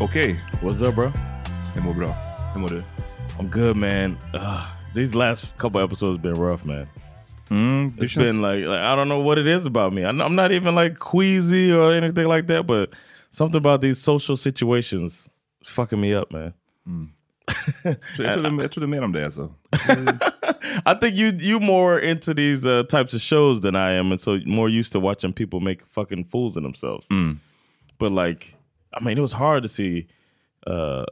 Okej, What's up, bro? jag mår bra. Hur mår du? I'm good, man. Ugh, these last couple episodes been rough, man. Mm, It's been like, like I don't know what it is about me. I'm, I'm not even like queasy or anything like that, but something about these social situations fucking me up, man. jag, Eh, trodde, jag trodde mer om det alltså. I think you you more into these uh, types of shows than I am, and so more used to watching people make fucking fools of themselves. But like, I mean, it was hard to see uh,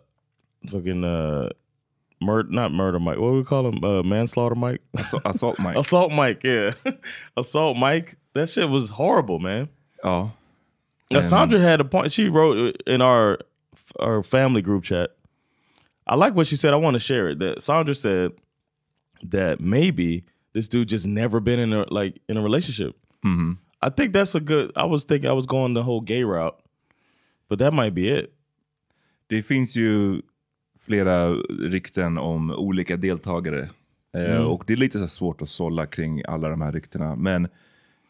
fucking uh, murder, not murder Mike. What do we call him? Uh, manslaughter Mike, Asso- Alltså, Assault Mike. assault Mike. Yeah, assault Mike. That shit was horrible, man. ja. Now, Sandra had a point. She wrote in our our family group chat. I like what she said. I want to share it. That Sandra said that maybe this dude just never been in a like in a relationship. Mhm. I think that's a good. I was thinking I was going the whole gay route, but that might be it. Det finns ju flera rykten om olika deltagare. Eh, Mm. Och det är lite så här svårt att sålla kring alla de här ryktena. Men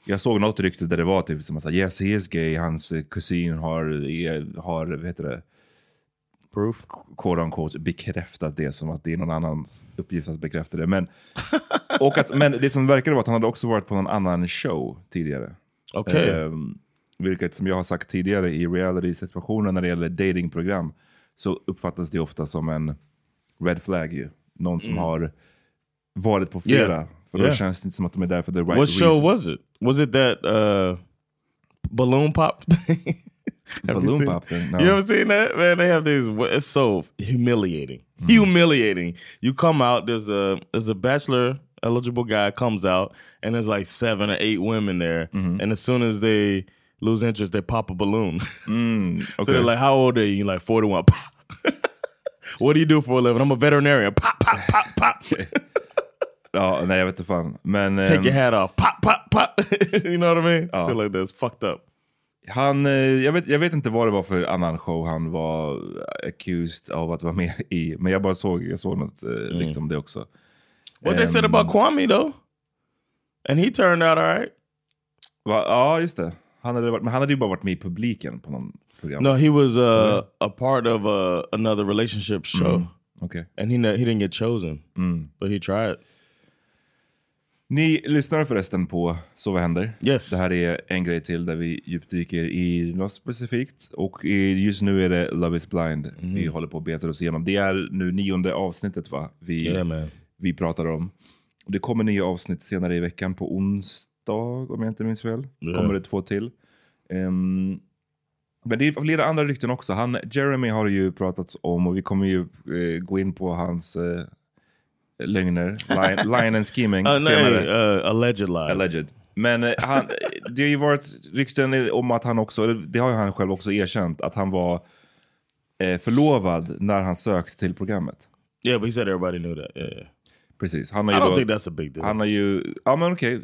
jag såg något rykte där det var typ som att säga, yes he is gay, hans eh, kusin har, är- har vad heter det, Proof. quote unquote, bekräftat det som att det är någon annans uppgift att bekräfta det. Men, och att, men det som verkade var att han hade också varit på någon annan show tidigare. Okej. Ehm, vilket som jag har sagt tidigare i reality-situationen när det gäller datingprogram så uppfattas det ofta som en red flag ju. Någon som har varit på flera. Mm. Yeah. För då Yeah. känns det inte som att de är där för the right what show reason. was it? Was it that uh, balloon pop? thing? Have you Balloon seen- pop then? No. You ever seen that? Man, they have these. It's so humiliating. Hmm. Humiliating. You come out. There's a there's a bachelor eligible guy comes out, and there's like seven or eight women there. Mm-hmm. And as soon as they lose interest, they pop a balloon. Mm, so okay. they're like, "How old are you?" You're like, "41." Pop. what do you do for a living? I'm a veterinarian. Pop, pop, pop, pop. ja, nej, jag vet inte fan. Men, Take ehm, your hat off. Pop, pop, pop. you know what I mean? Oh. Shit like that's fucked up. Han, eh, jag, vet, jag vet inte vad det var för annan show han var accused av att vara med i. Men jag bara såg, jag såg något eh, rykte om det också. What Mm. they said Ehm, about Kwame though, and he turned out all right. va, ja, just det. Han hade, varit, men han hade ju bara varit med i publiken på någon program. No, he was uh, a part of uh, another relationship show, Okej. and he ne- he didn't get chosen, Mm. but he tried. Ni lyssnar förresten på Så vad händer? Yes. Det här är en grej till där vi djupdyker i något specifikt. Och i- just nu är det Love is blind Mhm. vi håller på att beta oss igenom. Det är nu nionde avsnittet va? Vi, Yeah, man. vi pratar om. Det kommer nya avsnitt senare i veckan på onsdag om jag inte minns fel. Ja. Kommer det två till. Ehm, men det är flera andra rykten också. Han, Jeremy har ju pratats om och vi kommer ju eh, gå in på hans eh, lögner. Line, line and scheming Uh, no, senare. uh, alleged lies. Alleged. Men eh, han, det har ju varit rykten om att han också, eller det har ju han själv också erkänt, att han var eh, förlovad när han sökte till programmet. Yeah, but he said everybody knew that. Yeah, yeah. Precis. Han har I ju don't då- think that's a big deal. Oh, Han har ju, ja men okej.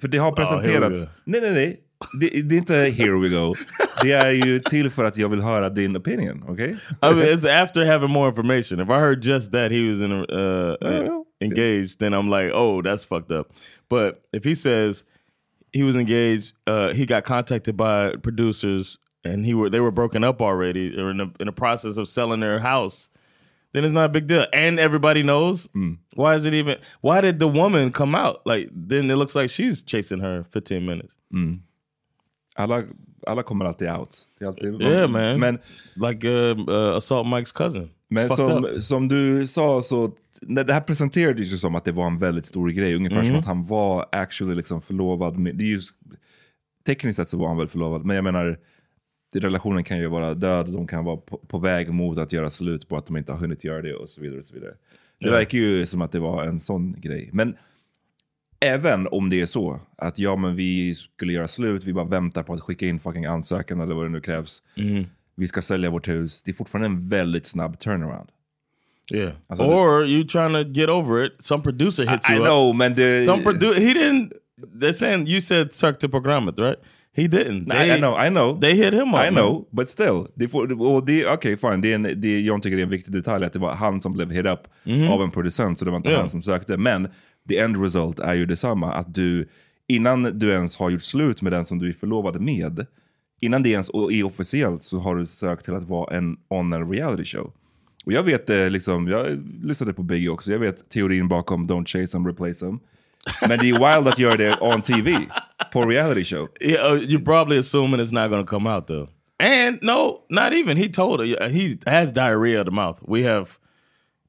För det har presenterats. here we go. nej, nej, nej. Det, det är inte here we go. Det är ju till för att jag vill höra din opinion, okej? I mean, it's after having more information. If I heard just that he was in a, uh, Yeah, yeah. engaged, then I'm like, oh, that's fucked up. But if he says he was engaged, uh, he got contacted by producers, and he were they were broken up already, or in the, in the process of selling their house, then it's not a big deal. And everybody knows. Hmm. Why is it even? Why did the woman come out? Like then it looks like she's chasing her 15 minutes. Mm. Alla, alla kommer alltid out. Det är alltid, Yeah, man. Men, Like uh, uh, assault Mike's cousin. men Fucked up. som, som du sa så, när det här presenterades ju som att det var en väldigt stor grej. Ungefär Mm. som att han var actually liksom förlovad. Med, det är ju, tekniskt sett så var han väl förlovad, men jag menar det- relationen kan ju vara död, de kan vara på, på väg mot att göra slut på att de inte har hunnit göra det och så vidare. Och så vidare. Det verkar ju som att det var en sån grej. Men även om det är så att ja, men vi skulle göra slut, vi bara väntar på att skicka in fucking ansökan eller vad det nu krävs. Vi ska sälja vårt hus. Det är fortfarande en väldigt snabb turnaround. Yeah. Alltså, Or you trying to get over it. Some producer hits I you up. know, men det... Some produ- he didn't they're saying you said suck to programmet, right? He didn't. I, I know, I know. they hit him up. I know, but still. Det får, och det, okay, fine. Det är en, det, jag tycker det är en viktig detalj att det var han som blev hit up av en producent, så det var inte Mhm. Ja. han som sökte. Men the end result är ju detsamma, att du, innan du ens har gjort slut med den som du är förlovad med, innan det ens är officiellt så har du sökt till att vara en on a reality show. Och jag vet eh, liksom, jag lyssnade på Biggie också, jag vet teorin bakom don't chase them, replace them. Men det är wild att göra det on TV, på reality show. Yeah, uh, you're probably assuming it's not going to come out though. And no, not even. He told her uh, he has diarrhea of the mouth. We have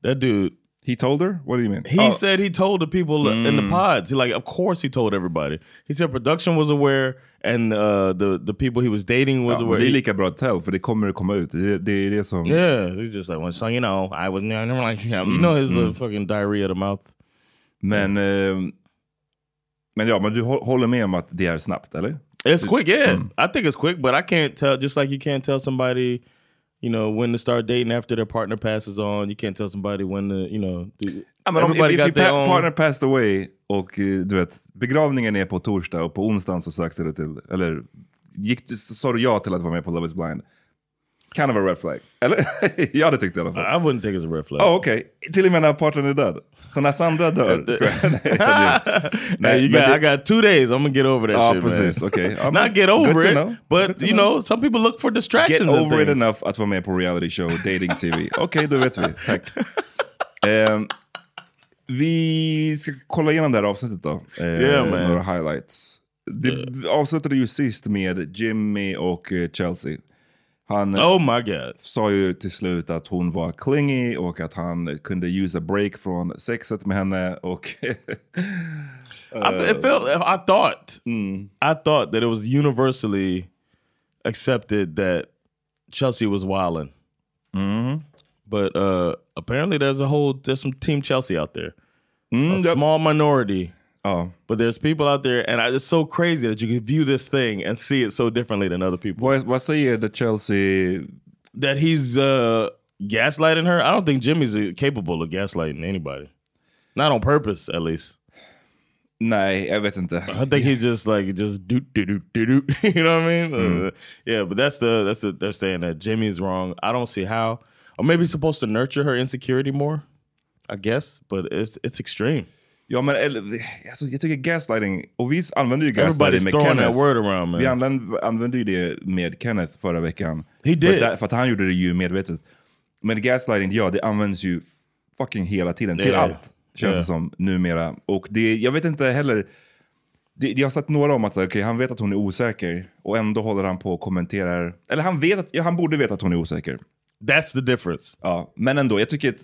that dude. He told her? What do you mean? He Oh. said he told the people in the Mm. pods. He like, of course, he told everybody. He said production was aware, and uh, the the people he was dating was Ja, men aware. det är He- lika bra att tell, för det kommer att komma ut. Det, det är det som... yeah, he's just like, well, so you know, I was never like, you Mm, know, his uh, fucking diarrhea of the mouth. Men, eh, men ja, men du hå- håller med om att det är snabbt, eller? It's quick, yeah. mm. I think it's quick, but I can't tell. Just like you can't tell somebody, you know, when to start dating after their partner passes on. You can't tell somebody when to, you know. Do, Ja, men om if, Everybody if got your their pa- own- partner passed away och eh, du vet, begravningen är på torsdag och på onsdagen så sökte du till, eller gick, du- så sa du ja till att vara med på Love is blind. Kind of a red flag. Eller? jag hade tyckt det i alla fall. I wouldn't think it's a red flag. Ja, Okej, till och med när partnern är död. Så när Sandra dör... Skojar. Nej, jag skojar. Hey, you men got, det- I got two days. I'm gonna get over that Ja, shit, Ah, precis. man. Okej. Ja, men Not get good over to it, know. but you know, some people look for distractions. Get and over it things. enough att vara med på reality show, dating TV. Okej, då vet vi. Tack. Ehm, vi ska kolla igenom det här avsnittet då. Eh, Yeah, man. Några highlights. Det avslutade ju sist med Jimmy och eh, Chelsea. Han eh, Oh my god. sa ju till slut att hon var clingy och att han kunde use a break från sexet med henne. Och I, it felt. I thought. Mm. I thought that it was universally accepted that Chelsea was wilding, Eh, mhm. but uh, apparently there's a whole there's some team Chelsea out there, a yep. small minority. ja. But there's people out there, and I, it's so crazy that you can view this thing and see it so differently than other people. vad, vad säger The Chelsea That he's uh, gaslighting her. I don't think Jimmy's uh, capable of gaslighting anybody, not on purpose, at least. Nej, jag vet inte. I think he's just like just doot doot doot doot. doot. you know what I mean? Uh, yeah, but that's the that's the, they're saying that Jimmy's wrong. I don't see how, or maybe he's supposed to nurture her insecurity more. I guess, but it's it's extreme. Ja, men eller, alltså, jag tycker gaslighting, och vi använder ju gaslighting Everybody's med throwing that Kenneth. word around, Vi man. använde, använde ju det med Kenneth förra veckan. He För, did. att, där- för att han gjorde det ju medvetet. Men gaslighting, ja det används ju fucking hela tiden. Till Yeah. allt, känns Yeah. det som numera. Och det, jag vet inte heller, det, jag har sett några om att så här, okej, han vet att hon är osäker och ändå håller han på och kommenterar. Eller han vet att, ja, han borde veta att hon är osäker. That's the difference. Ja, men ändå, jag tycker att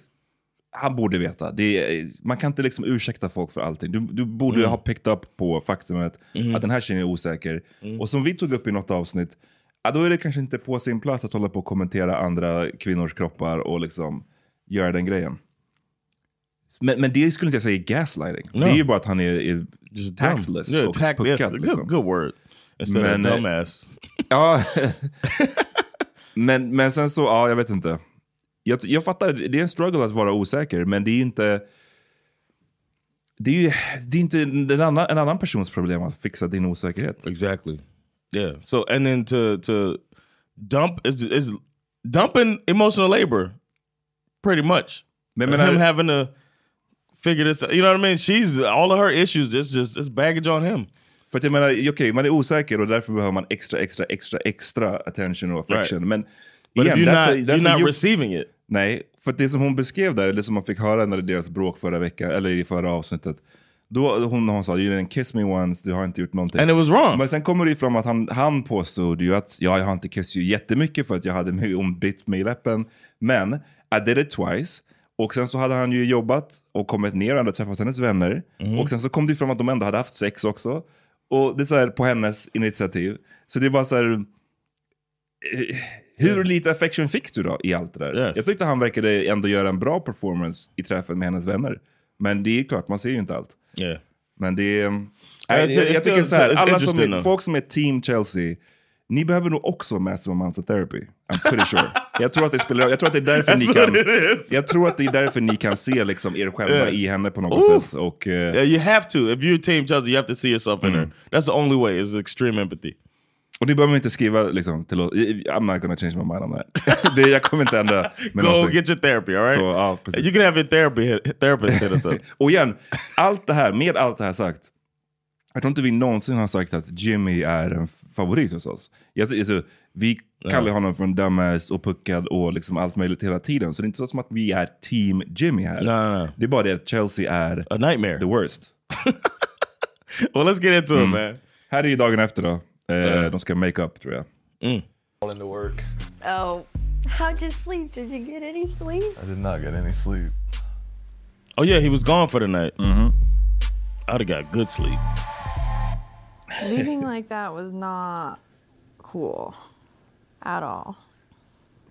han borde veta. Det är, man kan inte liksom ursäkta folk för allting. Du, du borde Mm. ha picked up på faktumet att den här tjejen är osäker. Mm. Och som vi tog upp i något avsnitt, ja, då är det kanske inte på sin plats att hålla på och kommentera andra kvinnors kroppar och liksom göra den grejen. Men, men det skulle inte jag säga är gaslighting. Det är ju bara att han är, är Just dumb. tactless Yeah, och tact- yes, puckad. good, liksom. good word. Instead Men, eh, of dumbass. Ja. men, men sen så, ja jag vet inte. Jag, jag fattar, det är en struggle att vara osäker, men det är inte... Det är ju det är inte en annan, en annan persons problem att fixa din osäkerhet. Exactly. Yeah. So and then to to dump is is dumping emotional labor, pretty much. Men, And men him är, having to figure this out. You know what I mean? She's all of her issues, it's just it's baggage on him. för att jag menar, Eh, okej, man är osäker och därför behöver man extra, extra, extra, extra attention och affection. Right. Men But igen, if you're that's not, a, you're that's a not you- receiving it. Nej, för att det som hon beskrev där, eller som man fick höra när det deras bråk förra veckan, eller i förra avsnittet. Då hon, hon sa, you didn't kiss me once, du har inte gjort någonting. And it was wrong. Men sen kommer det ju fram att han, han påstod ju att ja, jag har inte kissat ju jättemycket för att jag hade mig ombitt mig i läppen. Men I did it twice. Och sen så hade han ju jobbat och kommit ner och ändå träffat hennes vänner. Mm-hmm. Och sen så kom det ju fram att de ändå hade haft sex också. Och det är så här på hennes initiativ. Så det var så här... eh, Hur lite affection fick du då i allt det där? Yes. Jag tyckte han verkade ändå göra en bra performance i träffen med hennes vänner. Men det är klart, man ser ju inte allt. yeah. Men det är... Ja, jag, it's- jag, it's jag tycker still- så här, it's alla som interesting är, though. folk som är team Chelsea, ni behöver nog också massive amounts of therapy. I'm pretty sure. jag, tror att det spelar, jag tror att det är därför ni That's kan... what it is. Jag tror att det är därför ni kan se liksom er själva Yeah. i henne på något Ooh. sätt. Och, eh, Yeah, you have to. If you're Team Chelsea, you have to see yourself in her. That's the only way. Is extreme empathy. och ni behöver inte skriva liksom, till oss, I'm not gonna change my mind on that. det, jag kommer inte ändra min Go åsikt. get your therapy. All right. Så, ja, precis. you can have your therapy therapist hit us up. Och igen, allt det här, med allt det här sagt, Jag tror inte vi någonsin har sagt att Jimmy är en favorit hos oss. Jag, alltså, vi kallar honom för en dumbass och puckad och liksom allt möjligt hela tiden. Så det är inte så som att vi är team Jimmy här. No, no, no. Det är bara det att Chelsea är A nightmare. the worst. Mm. Well, let's get into it, man. Här är ju dagen efter då. Eh, De ska make up tror jag. into work. Oh, how'd you sleep? Did you get any sleep? I did not get any sleep. Oh yeah, he was gone for the night. I'd have got good sleep. Leaving like that was not cool at all.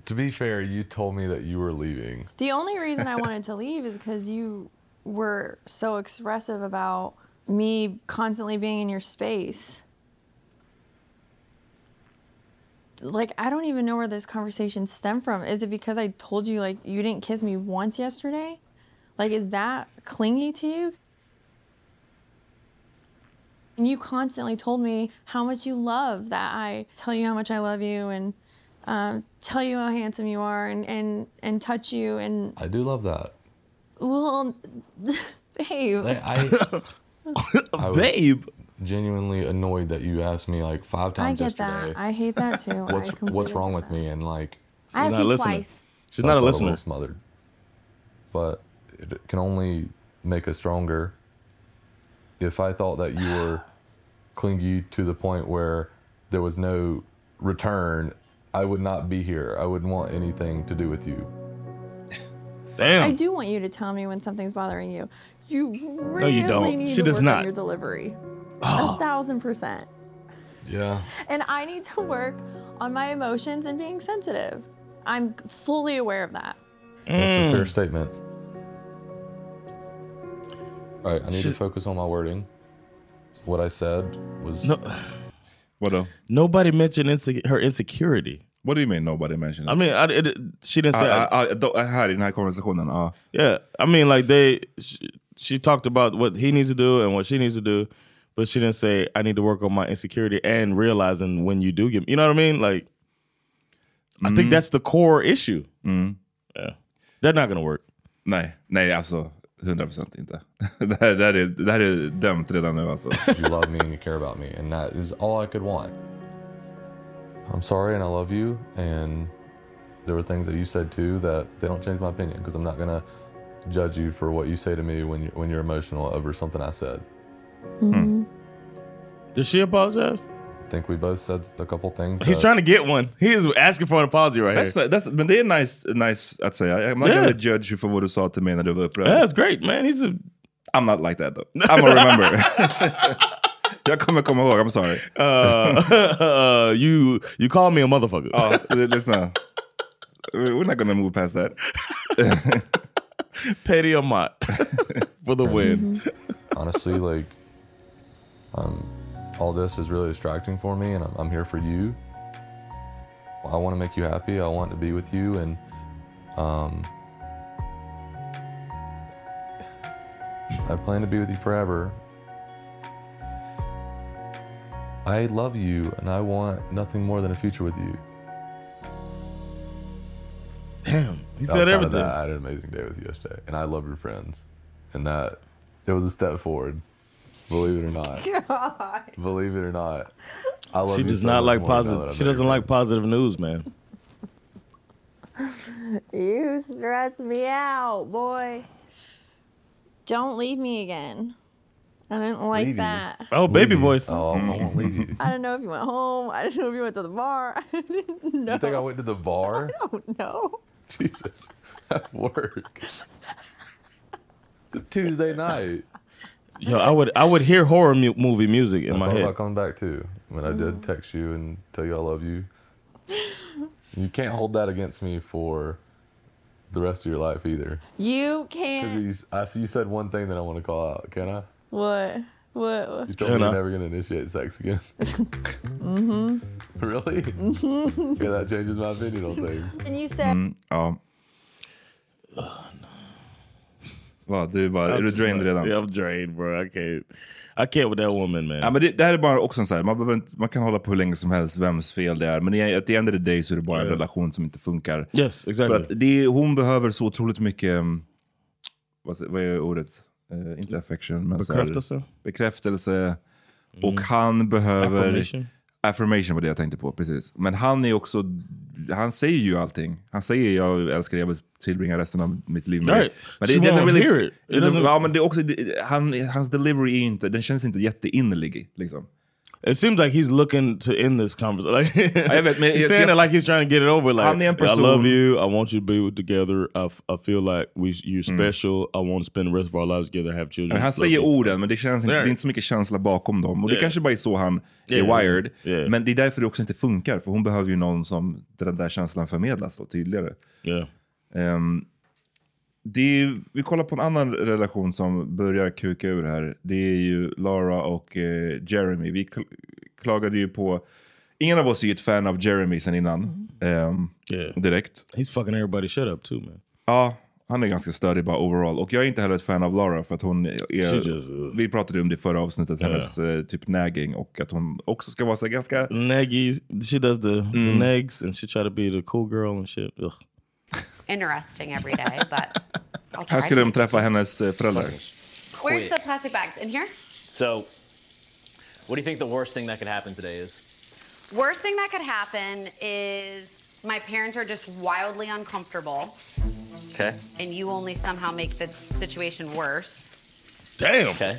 To be fair, you told me that you were leaving. The only reason I wanted to leave is because you were so expressive about me constantly being in your space. Like, I don't even know where this conversation stemmed from. Is it because I told you, like, you didn't kiss me once yesterday? Like, is that clingy to you? And you constantly told me how much you love that I tell you how much I love you and um, tell you how handsome you are and, and, and touch you and I do love that. well, babe, I, I, I was Babe. genuinely annoyed that you asked me like five I times get yesterday that. I hate that too. I what's completely what's wrong get with that. me and like I asked not you listening. twice. She's I not a felt listener. little smothered. But it can only make us stronger. If I thought that you were clingy to the point where there was no return, I would not be here. I wouldn't want anything to do with you. I Damn. do want you to tell me when something's bothering you. You really you don't. need She to does work not. Oh. on your delivery. A thousand percent. Yeah. And I need to work on my emotions and being sensitive. I'm fully aware of that. That's a fair statement. All right, I need to focus on my wording. What I said was No, Vadå? nobody mentioned inse- her insecurity. What do you mean nobody mentioned? I mean, I, it, she didn't say. Ah, ah, ah, då- här i den här konversationen, ja. yeah, I mean, like they. She, she talked about what he needs to do and what she needs to do, but she didn't say I need to work on my insecurity and realizing when you do get. You know what I mean? Like, I Mm-hmm. think that's the core issue. Mm. Yeah, they're not gonna work. nej, nej alltså 100% inte. det, här, det, här är, det här är dömt redan nu alltså. you love me and you care about me, and that is all I could want. I'm sorry, and I love you, and there were things that you said too that they don't change my opinion because I'm not gonna judge you for what you say to me when you when you're emotional over something I said. Did she apologize? I think we both said a couple things. He's that- trying to get one. He is asking for an apology right That's, here. that's, men det är nice, nice att säga. I'm not Yeah. gonna judge you för vad du sa till mig när du var upprörd. Yeah, that's great, man. He's a I'm not like that though. I'm gonna remember. jag kommer komma ihåg, I'm sorry. uh, uh, you you call me a motherfucker. Ja, lyssna. We're not gonna move past that. Petty Amat for the win. Mm-hmm. Mm-hmm. honestly, like, um, all this is really distracting for me, and I'm, I'm here for you. I want to make you happy. I want to be with you, and um, I plan to be with you forever. I love you, and I want nothing more than a future with you. He Outside said of everything. that, I had an amazing day with you yesterday, and I love your friends, and that it was a step forward. Believe it or not. Believe it or not. I love She you does so not much like more now that positive. I She know doesn't your like friends. positive news, man. You stress me out, boy. Don't leave me again. I didn't like Leave you? that. Oh, baby voice. Oh, I I won't leave you. I don't know if you went home. I didn't know if you went to the bar. I didn't know. You think I went to the bar? don't know. Jesus, at work. It's a Tuesday night. Yo, I would I would hear horror mu- movie music in I my thought head. about coming back too. When I did text you and tell you I love you. You can't hold that against me for the rest of your life either. You Because can't. you, I see you said one thing that I want to call out. Can I? What? What? what? You told me Can I? you're never gonna initiate sex again. mm-hmm. Really? yeah, that changes my opinion on things. Mm-hmm. And you said Mm, um, Ja. Va, du är, bara, är du drained redan? Yeah, I'm drained, bro. I can't. I can't with that woman, man. Ja, men det, det här är bara också en så här, man, behöver inte, man kan hålla på hur länge som helst vems fel det är. Men i- at the end of the day så är det bara en Ja. relation som inte funkar. yes, För exactly. att det, är- hon behöver så otroligt mycket, um, vad, sä- vad är ordet? Eh, inte affection, men så här- Bekräftelse. Mm. bekräftelse. Och han behöver... Affirmation. Affirmation var det jag tänkte på, precis. Men han är också... Han säger ju allting. Han säger jag älskar dig, jag vill tillbringa resten av mitt liv med dig. Right. She won't hear it. It doesn't- doesn't- ja, men det är också, det, han, hans delivery är inte, den känns inte jätteinnerlig. Liksom. It seems like he's looking to end this conversation. Like, I bet, man, he's yes, saying yeah. it like he's trying to get it over. Like, I'm the emperor I love soon." you. I want you to be together. I, f- I feel like we you're special. I want to spend the rest of our lives together. Have children. Men han Love säger you. orden, men det, känns inte, det There. är inte så mycket känsla bakom dem. Och det Yeah. kanske bara är så han Yeah. är wired. Yeah. Men det är därför det också inte funkar, för hon behöver ju någon som där den där känslan förmedlas då, tydligare. Yeah. Ehm, det är, vi kollar på en annan relation som börjar kuka ur här. Det är ju Lara och eh, Jeremy. Vi kl- klagade ju på... Ingen av oss är ju ett fan av Jeremy sen innan. ehm, Yeah. direkt. He's fucking everybody shut up too, man. Ja, han är ganska störig bara overall. Och jag är inte heller ett fan av Lara för att hon She är... just uh, Vi pratade om det i förra avsnittet, Ja. hennes eh, typ nagging och att hon också ska vara så här ganska... naggy. She does the nags and she try to be the cool girl and shit. Ugh. interesting every day, but I'll try. Här skulle de träffa hennes eh, föräldrar. Where's the plastic bags? In here? So, what do you think the worst thing that could happen today is? Worst thing that could happen is my parents are just wildly uncomfortable Okay. and you only somehow make the situation worse. Damn. Okay.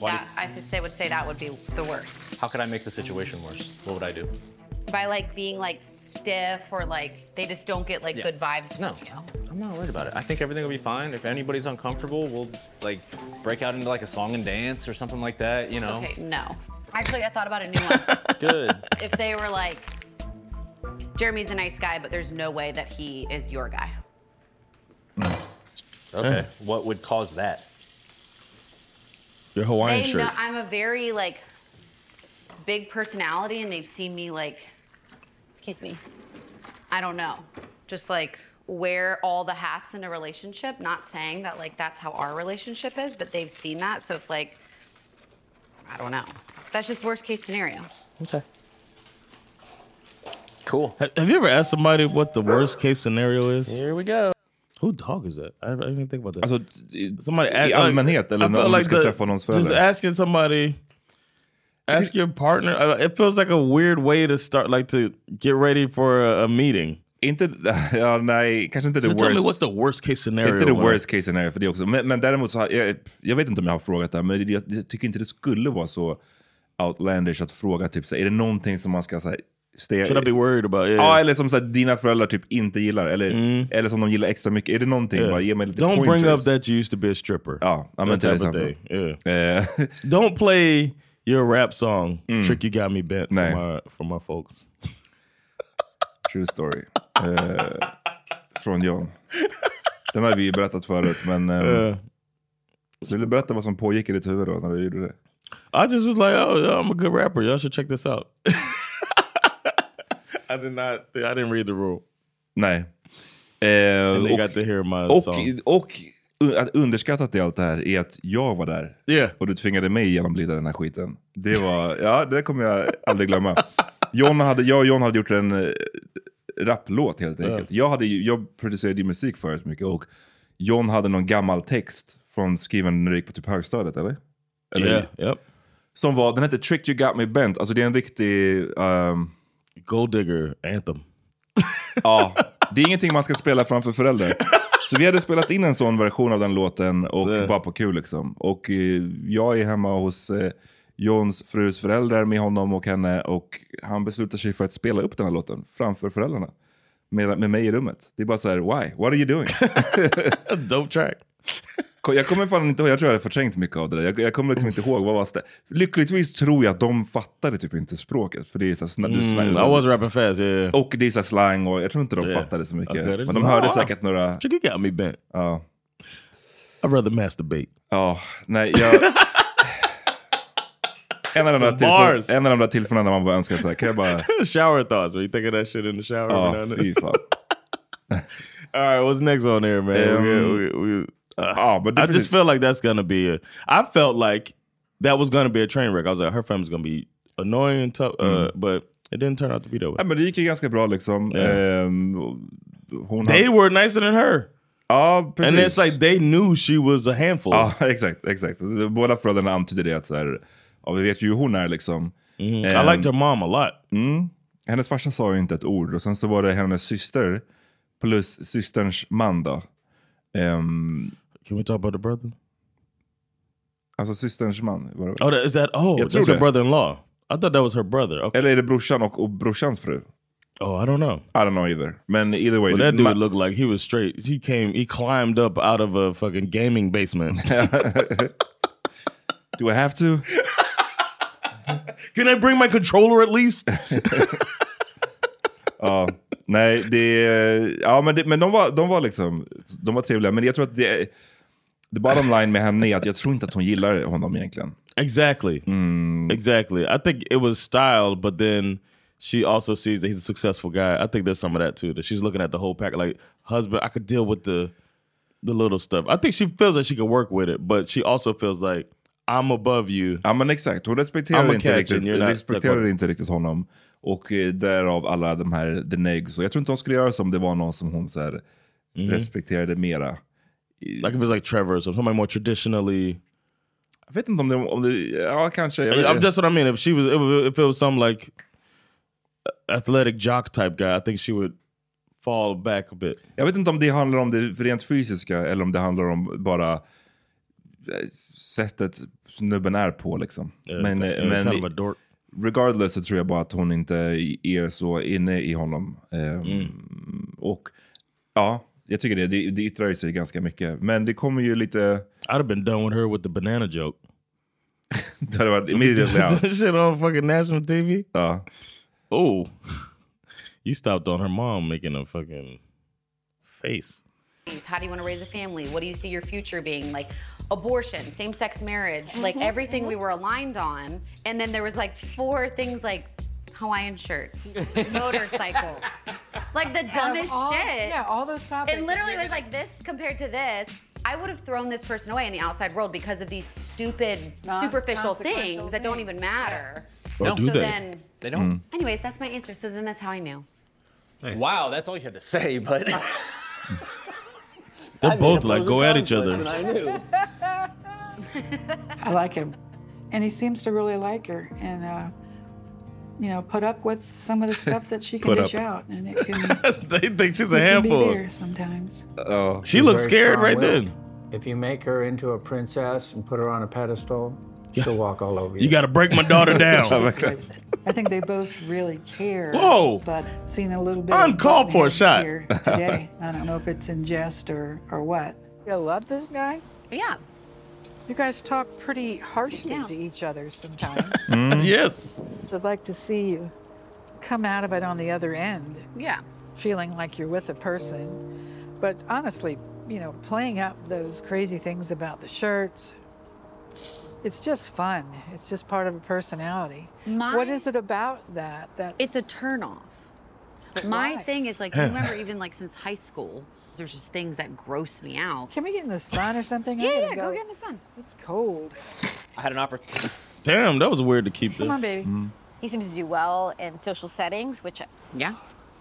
Why That, I would say- would say that would be the worst. do- how could I make the situation worse? What would I do? By like being like stiff or like they just don't get like Yeah. good vibes. No, From you. I'm not worried about it. I think everything will be fine. If anybody's uncomfortable, we'll like break out into like a song and dance or something like that. You know. Okay, no. Actually, I thought about a new one. Good. if they were like, Jeremy's a nice guy, but there's no way that he is your guy. Okay. What would cause that? Your Hawaiian they shirt. know I'm a very like big personality, and they've seen me like, excuse me, I don't know, just like wear all the hats in a relationship. Not saying that like that's how our relationship is, but they've seen that. So if like, I don't know, that's just worst case scenario. Okay. Cool. Ha- Have you ever asked somebody what the worst case scenario is? Here we go. Who dog is that? I, I didn't even think about that. Alltså, somebody ask, I allmänhet eller I feel om du ska the- träffa någons Just föräldrar. asking somebody, ask your partner. uh, It feels like a weird way to start, like to get ready for a, a meeting. Inte, ja, nej, kanske inte So the tell me worst what's the worst case scenario. Inte the when I- worst case scenario för det också. Men, men däremot så har, jag, jag vet inte om jag har frågat det, här, men jag, jag tycker inte det skulle vara så outlandish att fråga typ så här, är det någonting som man ska säga Should I be worried about? Yeah. Mm. Ja, eller som så här, dina föräldrar typ inte gillar, eller, eller som de gillar extra mycket. Är det någonting, Yeah. bara ge mig lite Don't pointers. bring up that you used to be a stripper. Ja, ja, men that till type of exempel. thing. Yeah. Eh, Don't play your rap song. Trick you got me bent for Nej. my for my folks. true story. Eh, från John. Den har vi ju berättat förut, men ehm, Yeah. vill du berätta vad som pågick i ditt huvud då, när du gjorde det? I just was like, oh, yeah, I'm a good rapper. Y'all should check this out. I did not. I didn't read the rule. Nej. And Eh, they och- got to hear my Och, song. och un- att underskattat i allt det här är att jag var där Yeah. och du tvingade mig genomlida den här skiten. Det var, ja det kommer jag aldrig glömma. John hade, jag och John hade gjort en eh, rapplåt helt enkelt. Jag, hade, ju- jag producerade ju musik förut mycket och John hade någon gammal text från skriven när du gick på typ högstadiet eller? eller Yeah. Yep. Som var, den hette Trick You Got Me Bent, alltså det är en riktig... ehm, Gold digger anthem. Ja, det är ingenting man ska spela framför föräldrar. Så vi hade spelat in en sån version av den låten och Det. bara på kul liksom. Och eh, jag är hemma hos eh, Johns frus föräldrar med honom och henne och han beslutar sig för att spela upp den här låten framför föräldrarna. Med, med mig i rummet. Det är bara så här, why? What are you doing? A dope track. Jag kommer fan inte ihåg, jag tror jag har förträngt mycket av det där. Jag, jag kommer liksom inte ihåg, vad var stä- Lyckligtvis tror jag att de fattade typ inte språket. För det är så här, snä- du Mm, snä- I was rapping fast. Yeah. yeah. Och det är så här slang och jag tror inte de Yeah. fattade så mycket. Okay, det är Men så- de hörde Ah. säkert några... Trick you got me bent. Ja. I'd rather masturbate. Ja, nej jag... En av, de där Some bars. tillfällen, en av de där tillfällena när man bara önskar så här, kan jag bara... shower thoughts. Were you thinking that shit in the shower? every now Ja, and then? fy fan. All right, what's next on there, man? Um, we, we, we, uh, Ja, men det I är just precis, feel like that's gonna be. A, I felt like that was gonna be a train wreck. I was like, her family's gonna be annoying and tough, uh, but it didn't turn out to be that ja, way. men det gick ju ganska bra liksom. Ja. Ehm, och hon They hade, were nicer than her, ja, precis. and it's like they knew she was a handful. Ja, exakt, exakt. Båda föräldrarna antydde det att så här, ja Ja, vi vet ju hur hon är liksom. Mm. I Ehm, liked her mom a lot. Hennes farsa sa ju inte ett ord och sen så var det hennes syster plus systerns man då. Ehm, Can we talk about the brother? alltså systerns man. Var det, Oh, that, is that? Oh, Yeah, that's her Truda. brother-in-law. I thought that was her brother. Okay. Eller är det brorsan och, och brorsans fru? Oh, I don't know. I don't know either. Men either way. But that ma- dude looked like he was straight. He came. He climbed up out of a fucking gaming basement. do I have to? Can I bring my controller at least? Ja, nej, det, ja, men, det, men de, var, de var liksom de var trevliga. Men jag tror att det, the bottom line med henne är att jag tror inte att hon gillar honom egentligen. Exactly. Exactly. I think it was styled, but then she also sees that he's a successful guy. I think there's some of that too. That she's looking at the whole pack. Like husband, I could deal with the the little stuff. I think she feels that she could work with it, but she also feels like I'm above you. Ja, men exakt. Hon respekterar, I'm a inte catch riktigt, and you're not- respekterar D'accord. inte riktigt honom. Och eh, därav alla de här the negs. Och jag tror inte hon skulle göra som det var någon som hon så här, respekterade mera. Mhm. Like if it was like Trevor or somebody more traditionally. Jag vet inte om det... Om det ja, kanske. Jag vet, I'm just what I mean. If she was, if it was- if it was some like athletic jock type guy, I think she would fall back a bit. Jag vet inte om det handlar om det rent fysiska eller om det handlar om bara eh, sättet snubben är på. Liksom. men Uh, eh, kind of a men dork. regardless så tror jag bara att hon inte är så inne i honom. Ehm, Mm. Och ja, jag tycker det. Det, det yttrar ju sig ganska mycket. Men det kommer ju lite... I'd have been done with her with the banana joke. Det hade varit immediately out. That shit on fucking national TV. Ja. Oh, Uh, you stopped on her mom making a fucking face. values? How do you want to raise a family? What do you see your future being? Like abortion, same sex marriage, like everything we were aligned on. And then there was like four things like Hawaiian shirts, motorcycles, like the dumbest all, shit. Yeah, all those topics. It literally was like this compared to this. I would have thrown this person away in the outside world because of these stupid, Non- superficial consequential things that don't things. even matter. Or No. do So they? then, They don't. anyways, that's my answer. So then that's how I knew. Hmm? Wow, that's all you had to say, but They're both like go at each other. I knew. I like him, and he seems to really like her, and uh, you know, put up with some of the stuff that she can Put dish up. out, and it can, it they think she's a can be handful. Oh, there sometimes. Ja. She looks very scared right strong-willed. then. If you make her into a princess and put her on a pedestal, she'll walk all over you. You got to break my daughter down. I think they both really care. Whoa. But seeing a little bit. Uncalled of for a what shot. happened here today. I don't know if it's in jest or or what. I love this guy. Yeah. You guys talk pretty harshly to each other sometimes. yes. I'd like to see you come out of it on the other end, Yeah. feeling like you're with a person. But honestly, you know, playing up those crazy things about the shirts, it's just fun. It's just part of a personality. My- what is it about that? That's It's a turn off. My why? thing is like, you remember even like since high school, there's just things that gross me out. Can we get in the sun or something? I Yeah, gotta yeah, go get in the sun. It's cold. I had an opportunity. Damn, that was weird to keep Come on, there. baby. He seems to do well in social settings, which Yeah.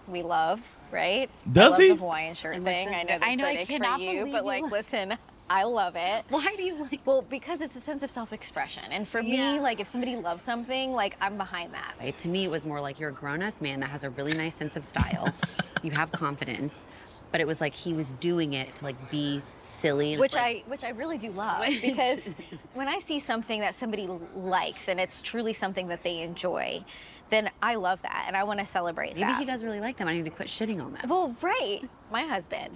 we love, right? Does I love he? The Hawaiian shirt And thing. I listen, know that's I know, I like cannot for you, believe but you like, love- listen, I love it. Why do you like? Well, because it's a sense of self-expression, and for me, Yeah. like if somebody loves something, like I'm behind that. Right? To me, it was more like you're a grown ass man that has a really nice sense of style. you have confidence, but it was like he was doing it to like be silly. And Which like, I which I really do love Which- because when I see something that somebody l- likes and it's truly something that they enjoy, then I love that and I want to celebrate maybe that. he does really like them. I need to quit shitting on them. Well, right. My husband.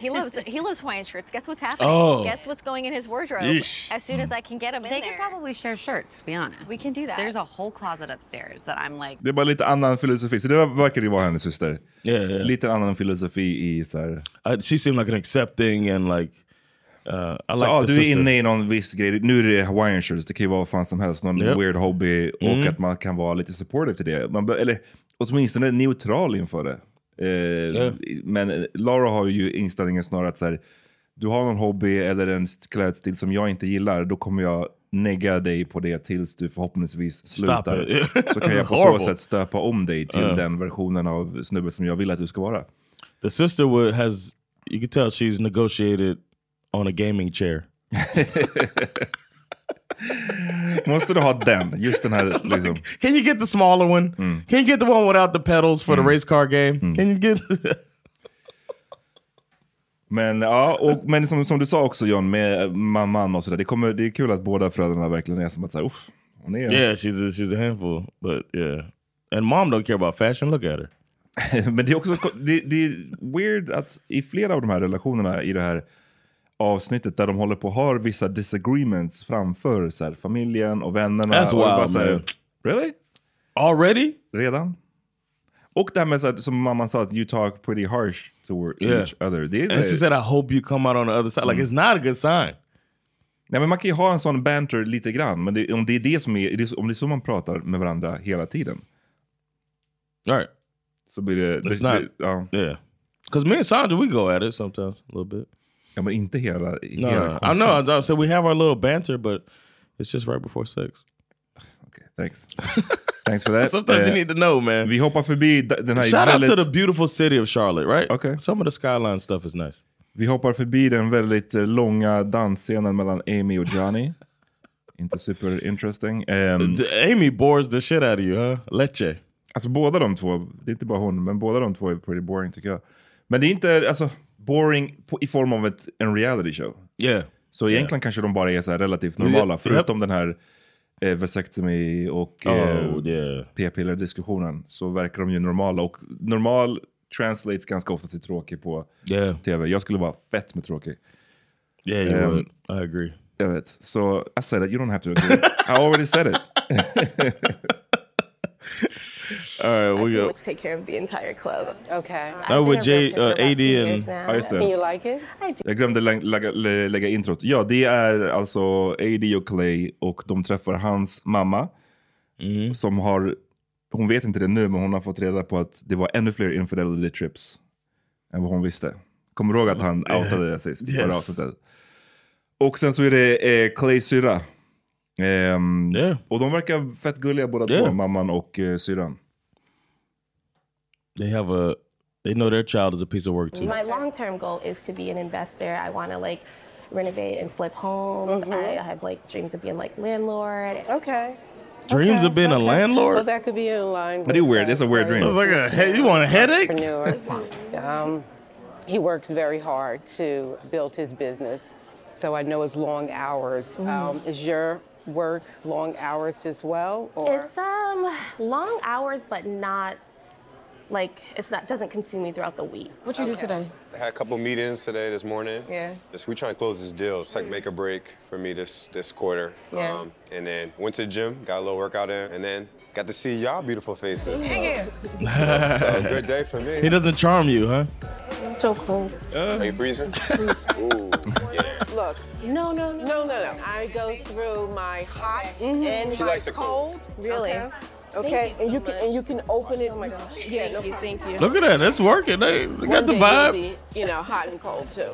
He loves he loves Hawaiian shirts. Guess what's happening? Oh. Guess what's going in his wardrobe Yeesh. as soon as I can get him in They there. could probably share shirts. To be honest, We can do that. There's a whole closet upstairs that I'm like. Det är bara lite annan filosofi. Så det verkar ju vara hennes syster. Yeah, yeah. Lite annan filosofi i så här... I, she seemed like an accepting and like uh, I Så, like ah, the du sister. är inne i någon viss grej. Nu är det hawaiian shirts, det kan ju vara vad fan som helst. Någon Yep. weird hobby Mm. och att man kan vara lite supportive till det. Man, bör- eller åtminstone neutral inför det. Eh, Ja. Men eh, Laura har ju inställningen snarare att så här, du har någon hobby eller en st- klädstil som jag inte gillar, då kommer jag negga dig på det tills du förhoppningsvis slutar. it. Så kan jag That's på horrible. så sätt stöpa om dig till den versionen av snubbe som jag vill att du ska vara. The sister would, has you can tell she's negotiated on a gaming chair. Måste du ha den? Just den här liksom. Mm. Can you get the smaller one? Can you get the one without the pedals for the race car game? Can you get... Men, ja, och, men som, som du sa också John, med mamman och sådär. Det, kommer- det är kul att båda föräldrarna verkligen är som att såhär, uff. Hon är... Yeah, she's a, she's a handful, but yeah. And mom don't care about fashion. Look at her. Men det är också det, det är weird att i flera av de här relationerna i det här avsnittet där de håller på och har vissa disagreements framför så här, familjen och vännerna. That's och det är wild, bara så här, man. Really? Already? Redan? Och det här med så här, som mamman sa, att you talk pretty harsh to Yeah. each other. Det är, And she said, I hope you come out on the other side. Like, it's not a good sign. Nej, men man kan ju ha en sån banter lite grann, men det, om, det är det som är, det är så- om det är så man pratar med varandra hela tiden. All right. Så blir det... It's det, not... det ja. Yeah. Because me and Sandra, we go at it sometimes a little bit. Ja, men inte hela... No, hela I konstant. know. I said we have our little banter, but it's just right before sex. Thanks. Thanks for that. Sometimes you Eh, need to know, man. Vi hoppar förbi d- den här Shout out väldigt- to the beautiful city of Charlotte, right? Okay. Some of the skyline stuff is nice. Vi hoppar förbi den väldigt eh, långa dansscenen mellan Amy och Johnny. Inte super interesting. Ehm, Amy bores the shit out of you, huh? Leche. Alltså båda de två, det är inte bara hon, men båda de två är pretty boring tycker jag. Men det är inte alltså, boring på, i form av ett, en reality show. Yeah. Så egentligen kanske de bara är så här relativt Yep, normala, yep. förutom den här eh, vasectomy och eh, Oh, yeah. p-piller-diskussionen. Så verkar de ju normala och normal translates ganska ofta till tråkig på Yeah. tv. Jag skulle vara fett med tråkig. Yeah, you Ehm, would. I agree. Jag vet. Så I said it, you don't have to agree. I already said it. All right, we go. much take care of the entire club. Okay. That would J- uh, AD and- Now. Oh, yes, sir. And you like it? I do. Jag glömde lä- lägga, lä- lägga introt. Ja, det är alltså AD och Clay och de träffar hans mamma. Mm. Som har, hon vet inte det nu, men hon har fått reda på att det var ännu fler infidelity trips än vad hon visste. Kommer du ihåg att han outade det sist? Yes. Förra avsnittet. Och sen så är det eh, Clays syrra. Ehm, Och de verkar fett gulliga båda två, Yeah. mamman och eh, syrran. They have a. They know their child is a piece of work too. My long-term goal is to be an investor. I want to like renovate and flip homes. I have like dreams of being like landlord. Mm-hmm. Okay. Dreams of being a landlord. that could be in line. But it's weird. It's a weird dream. It's like a he- you want a headache? Um, he works very hard to build his business, so I know it's long hours. Um, is your work long hours as well, or It's um long hours, but not like it's not doesn't consume me throughout the week. What you do today? I had a couple meetings today this morning. Yeah. Mm. Just we trying to close this deal. It's like make or break for me this this quarter. Um, Yeah. and then went to the gym, got a little workout in, and then got to see y'all beautiful faces. Thank you. know, so a good day for me. He doesn't charm you, huh? So cold. Are you freezing? Ooh, yeah. look? No, no, no, Mm-hmm. no, no, no. I go through my hot and She my likes it cold. Really? Okay, Thank Okay, you so and you can and you can open it. Oh my gosh! Yeah, Thank you, thank you. Look at that. That's working. They, they One got the day you'll vibe. be, you know, hot and cold too.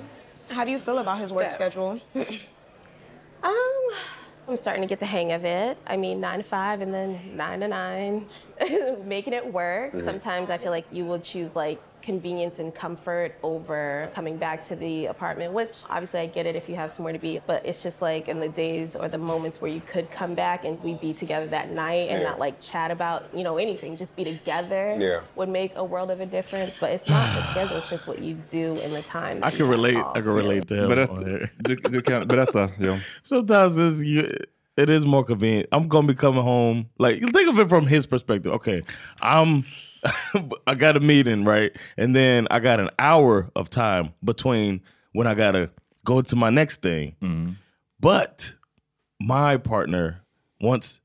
How do you feel about his work schedule? um, I'm starting to get the hang of it. I mean, nine to five and then nine to nine, making it work. Mhm. Sometimes I feel like you will choose like convenience and comfort over coming back to the apartment, which obviously I get it if you have somewhere to be, but it's just like in the days or the moments where you could come back and we be together that night and Yeah. not like chat about, you know, anything, just be together Yeah. would make a world of a difference, but it's not the schedule, it's just what you do in the time. I that can you have relate. off. I can relate to him. Oh, Berätta, on here. du, du kan, berätta John. Sometimes it's, you, it is more convenient. I'm gonna be coming home. Like think of it from his perspective. Okay, I'm. I got a meeting right, and then I got an hour of time between when I gotta go to my next thing. But my partner once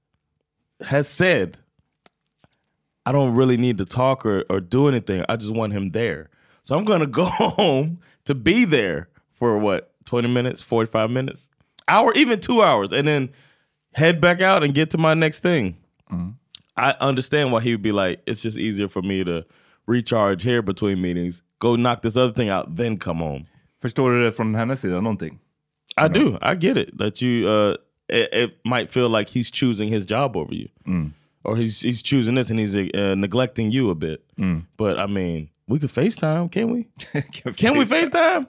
has said, I don't really need to talk or, or do anything. I just want him there. So I'm going to go home to be there for what, 20 minutes, 45 minutes, hour, even two hours, and then head back out and get to my next thing. I understand why he would be like, it's just easier for me to recharge here between meetings, go knock this other thing out, then come home. Förstår du det från hennes sida någonting? I do. I get it that you. Uh, it, it might feel like he's choosing his job over you, Mm. or he's he's choosing this and he's uh, neglecting you a bit. Mm. But I mean, We could FaceTime, can we? can, we FaceTime?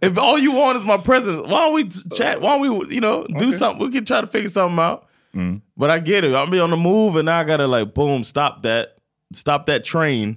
if all you want is my presence, why don't we chat? Why don't we, you know, do something? We can try to figure something out. Mm. But I get it. I'll be on the move and now I gotta like boom, stop that. Stop that train.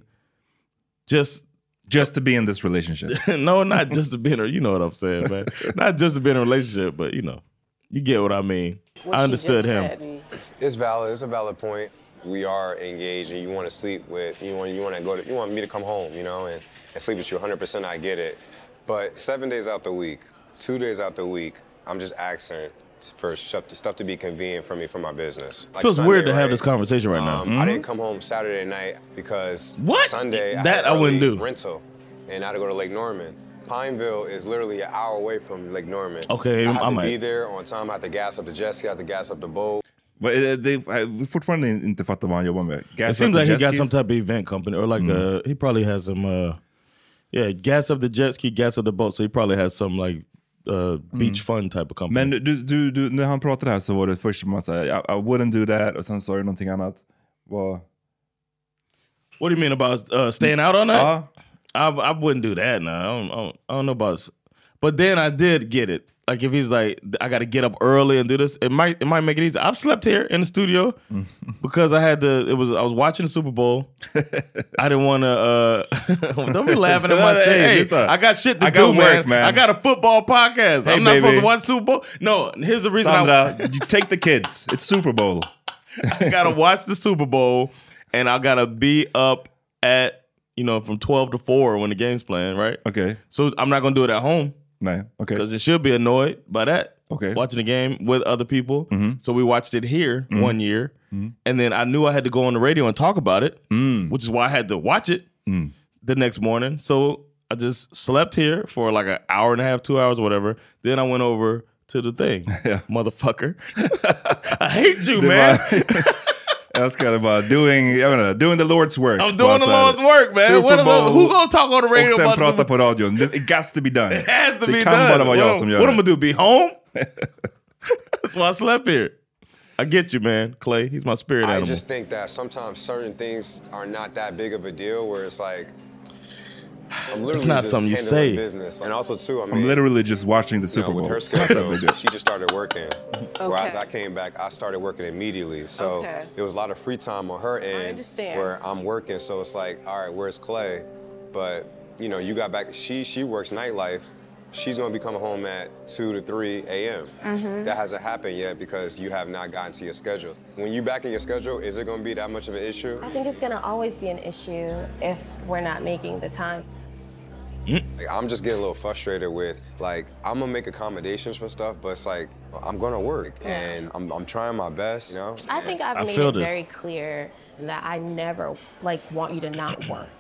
Just just to be in this relationship. no, not just to be in a you know what I'm saying, man. not just to be in a relationship, but you know, you get what I mean. I understood him. It's valid. It's a valid point. We are engaged, and you want to sleep with you want you want to go to you want me to come home, you know, and, and sleep with you 100. percent I get it, but seven days out the week, two days out the week, I'm just asking for stuff to, stuff to be convenient for me for my business. Like Feels Sunday, weird to have right? this conversation right now. Um, I didn't come home Saturday night because Mm-hmm. What? Sunday I had That I wouldn't early do. rental, and I had to go to Lake Norman. Pineville is literally an hour away from Lake Norman. Okay, I had I to might. be there on time. I had to gas up the jet ski. I had to gas up the boat. Vad är eh, det- jag har fortfarande inte fattar vad han jobbar med. Gas it seems up the like he jet got skis? Mm-hmm. some type of event company or like uh he probably has some uh yeah, gas up the jet ski, gas up the boat. So he probably has some like uh Mm-hmm. beach fun type of company. Men du, du, du, när han pratade här så var det först som att säga I, I wouldn't do that och sen sa du någonting annat. Vad... What do you mean about uh, staying out all night? Uh, I I wouldn't do that. No, I don't, I don't. I don't know about. s- But then I did get it. Like if he's like, I got to get up early and do this. It might it might make it easy. I've slept here in the studio because I had to. It was I was watching the Super Bowl. I didn't want to. Uh, don't be laughing at my Hey, shit. just, uh, I got shit to I got do, work, man. I got a football podcast. Hey, I'm not supposed baby. to watch Super Bowl. No, here's the reason. I, Sandra, you take the kids. It's Super Bowl. I gotta watch the Super Bowl, and I gotta be up at you know from twelve to four when the game's playing, right? Okay. So I'm not gonna do it at home. No. Okay. Because it should be annoyed by that. Okay. Mm-hmm. Watching the game with other people. So we watched it here Mhm. one year, and then I knew I had to go on the radio and talk about it, which is why I had to watch it Mm. the next morning. So I just slept here for like an hour and a half, two hours, whatever. Then I went over to the thing, motherfucker. I hate you, Det man. var- Jag älskar det bara. Doing, jag menar, doing the Lord's work. I'm doing the Lord's work, man. What is- who gonna talk on the radio Och sen about prata the på radion. This- It gots to be done. It has to det be kan done. bara vara jag What- som gör What det. am I do? Be home? That's why I slept here. I get you, man. Clay, he's my spirit I animal. just think that sometimes certain things are not that big of a deal. Where it's like, I'm literally not just something you handling say. business, and also too, I mean, I'm literally just watching the you Super know, with Bowl. her It's not that schedule, big deal. she just started working. Whereas I came back, I started working immediately. So Okay. there was a lot of free time on her end understand. where I'm working. So it's like, all right, where's Clay? But you know, you got back. She she works nightlife. She's gonna be coming home at two to three a.m. Mm-hmm. Mhm. That hasn't happened yet because you have not gotten to your schedule. When you back in your schedule, is it gonna be that much of an issue? I think it's going to always be an issue if we're not making the time. Mm. Like, I'm just getting a little frustrated with like I'm gonna make accommodations for stuff, but it's like I'm gonna work Yeah. and I'm, I'm trying my best, you know. I think I've I made feel it this. very clear that I never like want you to not work.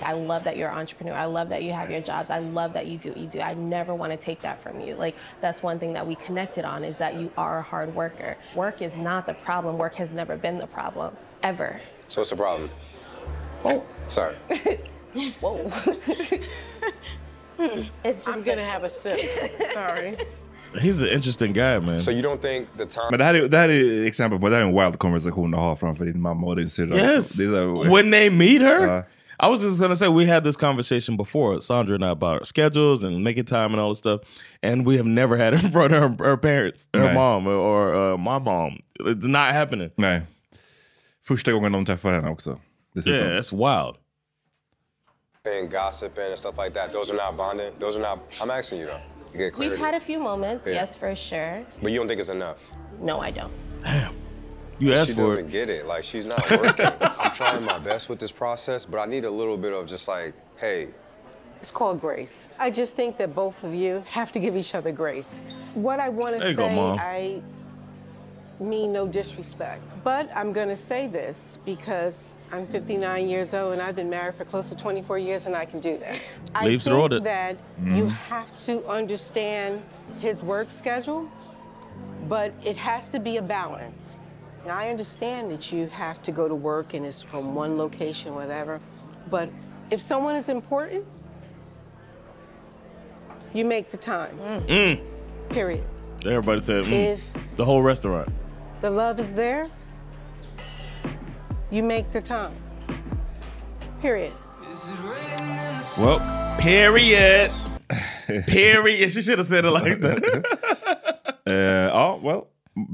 I love that you're an entrepreneur. I love that you have your jobs. I love that you do what you do. I never want to take that from you. Like that's one thing that we connected on is that you are a hard worker. Work is not the problem. Work has never been the problem ever. So what's the problem? Oh, sorry. Whoa. it's just I'm gonna have a sip. Sorry. He's an interesting guy, man. So you don't think the time? Men det här, är, det här är exempel på, det här är en wild konversation att ha framför din mamma och din syrra. liksom. Yes. Det är så här- When they meet her, Ja. I was just gonna say we had this conversation before Sandra and I about our schedules and making time and all this stuff, and we have never had it in front of her, her parents, her Nej. mom, or uh, my mom. It's not happening. Nej. Första gången de träffar henne också. Dessutom. Yeah, that's wild. and gossiping and stuff like that. Those are not bonding. Those are not. I'm asking you though. You get clarity. We've had a few moments, Yeah. yes, for sure. but you don't think it's enough. No, I don't. You And asked she for it. doesn't get it. Like she's not working. I'm trying my best with this process, but I need a little bit of just like, hey, It's called grace. I just think that both of you have to give each other grace. What I want to There say, you go, Mom. I mean no disrespect, but I'm going to say this because I'm 59 years old and I've been married for close to 24 years and I can do that. I Leaves are think ordered. that you Mhm. have to understand his work schedule, but it has to be a balance. And I understand that you have to go to work and it's from one location, whatever, but if someone is important, you make the time. Mm. Period. Everybody said mm. If the whole restaurant. the love is there, you make the time. Period. Well, period. period. She should have said it like that. Eh, ja, well.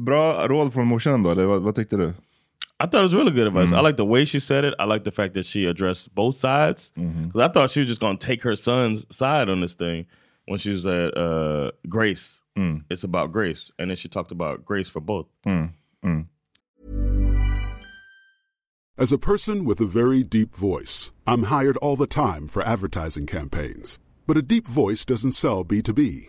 Bra råd från morsan då, eller vad, vad tyckte du? I thought it was really good advice. I like the way she said it. I like the fact that she addressed both sides. Because I thought she was just going to take her son's side on this thing when she was at uh, Grace. It's about grace. And then she talked about grace for both. Mm, mm. As a person with a very deep voice, I'm hired all the time for advertising campaigns. But a deep voice doesn't sell B2B,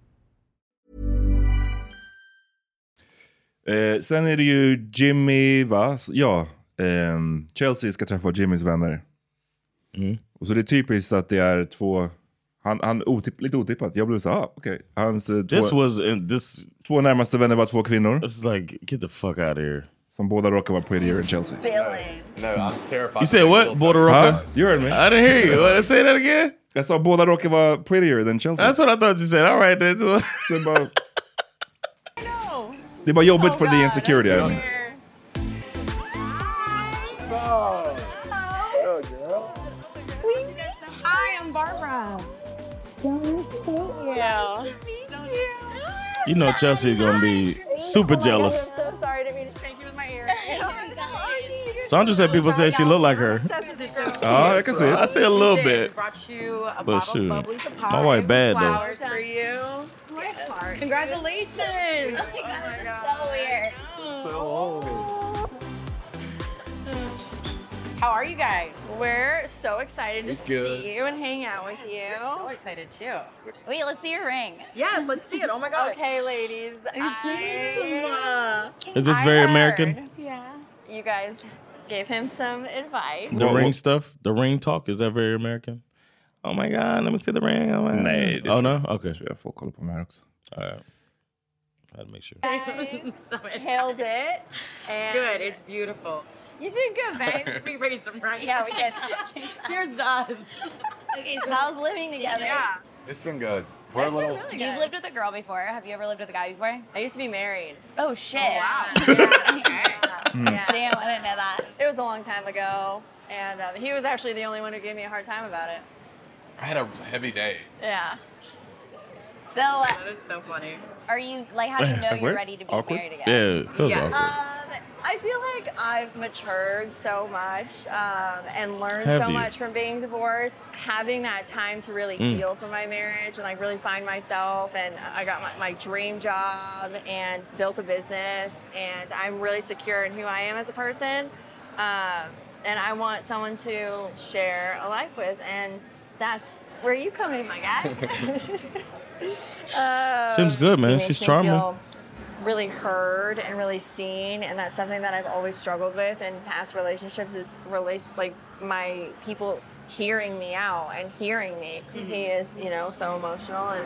Eh, sen är det ju Jimmy, va? S- Ja, ehm, Chelsea ska träffa Jimmys vänner. Mm. Och så det är typiskt att det är två, han, han otipp, lite otippat, jag blev så ah, okej. Hans eh, två, This was in this två närmaste vänner var två kvinnor. It's like, get the fuck out of here. Som båda råkar vara prettier än Chelsea. No, I'm terrified. You said what? Border Huh? Rocker? You heard me. I didn't hear you. What, say that again? Jag sa båda råkar vara prettier than Chelsea. That's what I thought you said. All right, that's what. Det är bara jobbigt för the insecurity. I mean. Oh. Hello, girl. Hi, I'm Barbara. Yeah. You know Chelsea's gonna be super jealous. I'm so sorry to mean to strange you with my earring. Sandra said people said she looked like her. Ah, I can see it. I see a little bit. Brought you a But bottle shoot, of Bubbly's and my pie, wife bad, though. flowers for you. Yes. Congratulations. Oh my God, so weird. How are you guys? We're so excited We're to good. see you and hang out with you. We're so excited too. Wait, let's see your ring. Yeah, let's see it. Oh my God. Okay, ladies. I, Is this very American? Yeah. You guys gave him some advice. The ring stuff, the ring talk, is that very American? Oh my god, let me see the ring. Oh my god. Nej, det tror oh no? Okay. Jag får kolla på mig här också. All right. I had to make sure. Guys Hailed it. And Good. It's beautiful. You did good, babe. we raised them right. Yeah, we did. Cheers to us. Okay, so how's living together? Yeah. It's been good. We're a little. You've lived with a girl before. Have you ever lived with a guy before? I used to be married. Oh shit! Hmm. Damn, I didn't know that. It was a long time ago, and um, he was actually the only one who gave me a hard time about it. I had a heavy day. Yeah. So, that is so funny. Are you like? How do you know you're Awkward? ready to be Awkward? married again? Yeah, it feels awkward. Um, I feel like I've matured so much um, and learned Have so you? much from being divorced. Having that time to really Mm. heal from my marriage and like really find myself. And I got my, my dream job and built a business. And I'm really secure in who I am as a person. Um, and I want someone to share a life with. And that's where you come in, my guy. Um, Seems good, man. it makes She's me charming. feel Really heard and really seen, and that's something that I've always struggled with in past relationships is relation like my people hearing me out and hearing me. He is, you know, so emotional, and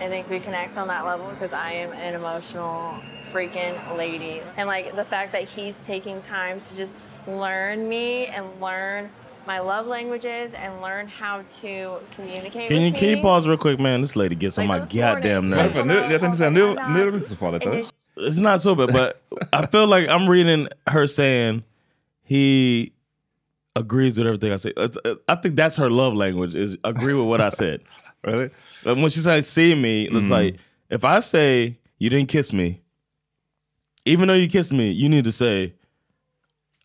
I think we connect on that level because I am an emotional freaking lady, and like the fact that he's taking time to just learn me and learn my love languages and learn how to communicate. Can you with can you me. pause real quick, man? This lady gets on my goddamn nerves. Varför? Nu, jag tänkte säga, nu, nu är det inte så farligt. Eller? It's not so bad, but I feel like I'm reading her saying he agrees with everything I say. It's- uh, I think that's her love language is agree with what I said. really? And when she says see me, it's like if I say you didn't kiss me, even though you kissed me, you need to say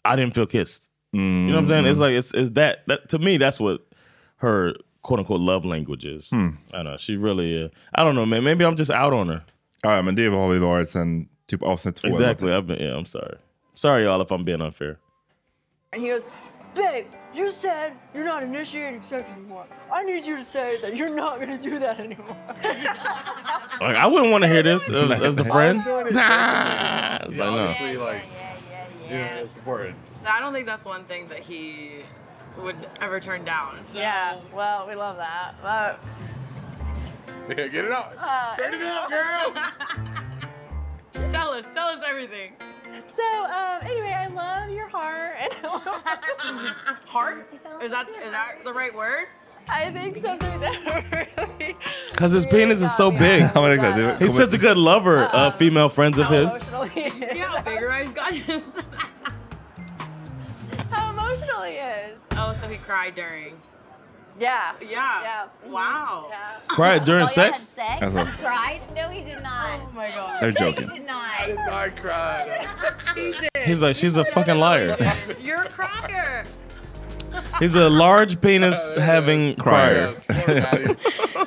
I didn't feel kissed. You know what I'm saying? It's like it's it's that, that to me that's what her quote unquote love language is. I don't know she really. Uh, I don't know man. Maybe I'm just out on her. Ja, ja, men det har vi varit sen Typ avsnitt två. Exactly. I've been, yeah, I'm sorry. Sorry, y'all, if I'm being unfair. And he goes, Babe, you said you're not initiating sex anymore. I need you to say that you're not going to do that anymore. Like, I wouldn't want to hear this uh, as the friend. doing it Nah. differently. Like, Yeah, no. obviously, like, yeah, it's important. I don't think that's one thing that he would ever turn down. So. Yeah, well, we love that. But Yeah, get it out. Uh, Turn it up, girl. tell us, tell us everything. so um, anyway, I love your heart. And heart? Is that is that the right word? I think something that really Because his penis is so big. He's such a good lover of female friends of his. See how big your eyes got? how emotional he is. Oh, so he cried during. Yeah. Mm-hmm. Yeah. Yeah. Wow. Yeah. Cried during sex? That's all. Cried? No, he did not. Oh my god. They're joking. He did not. I did not cry. He's like, she's a fucking liar. You're a crier. He's a large penis having crier.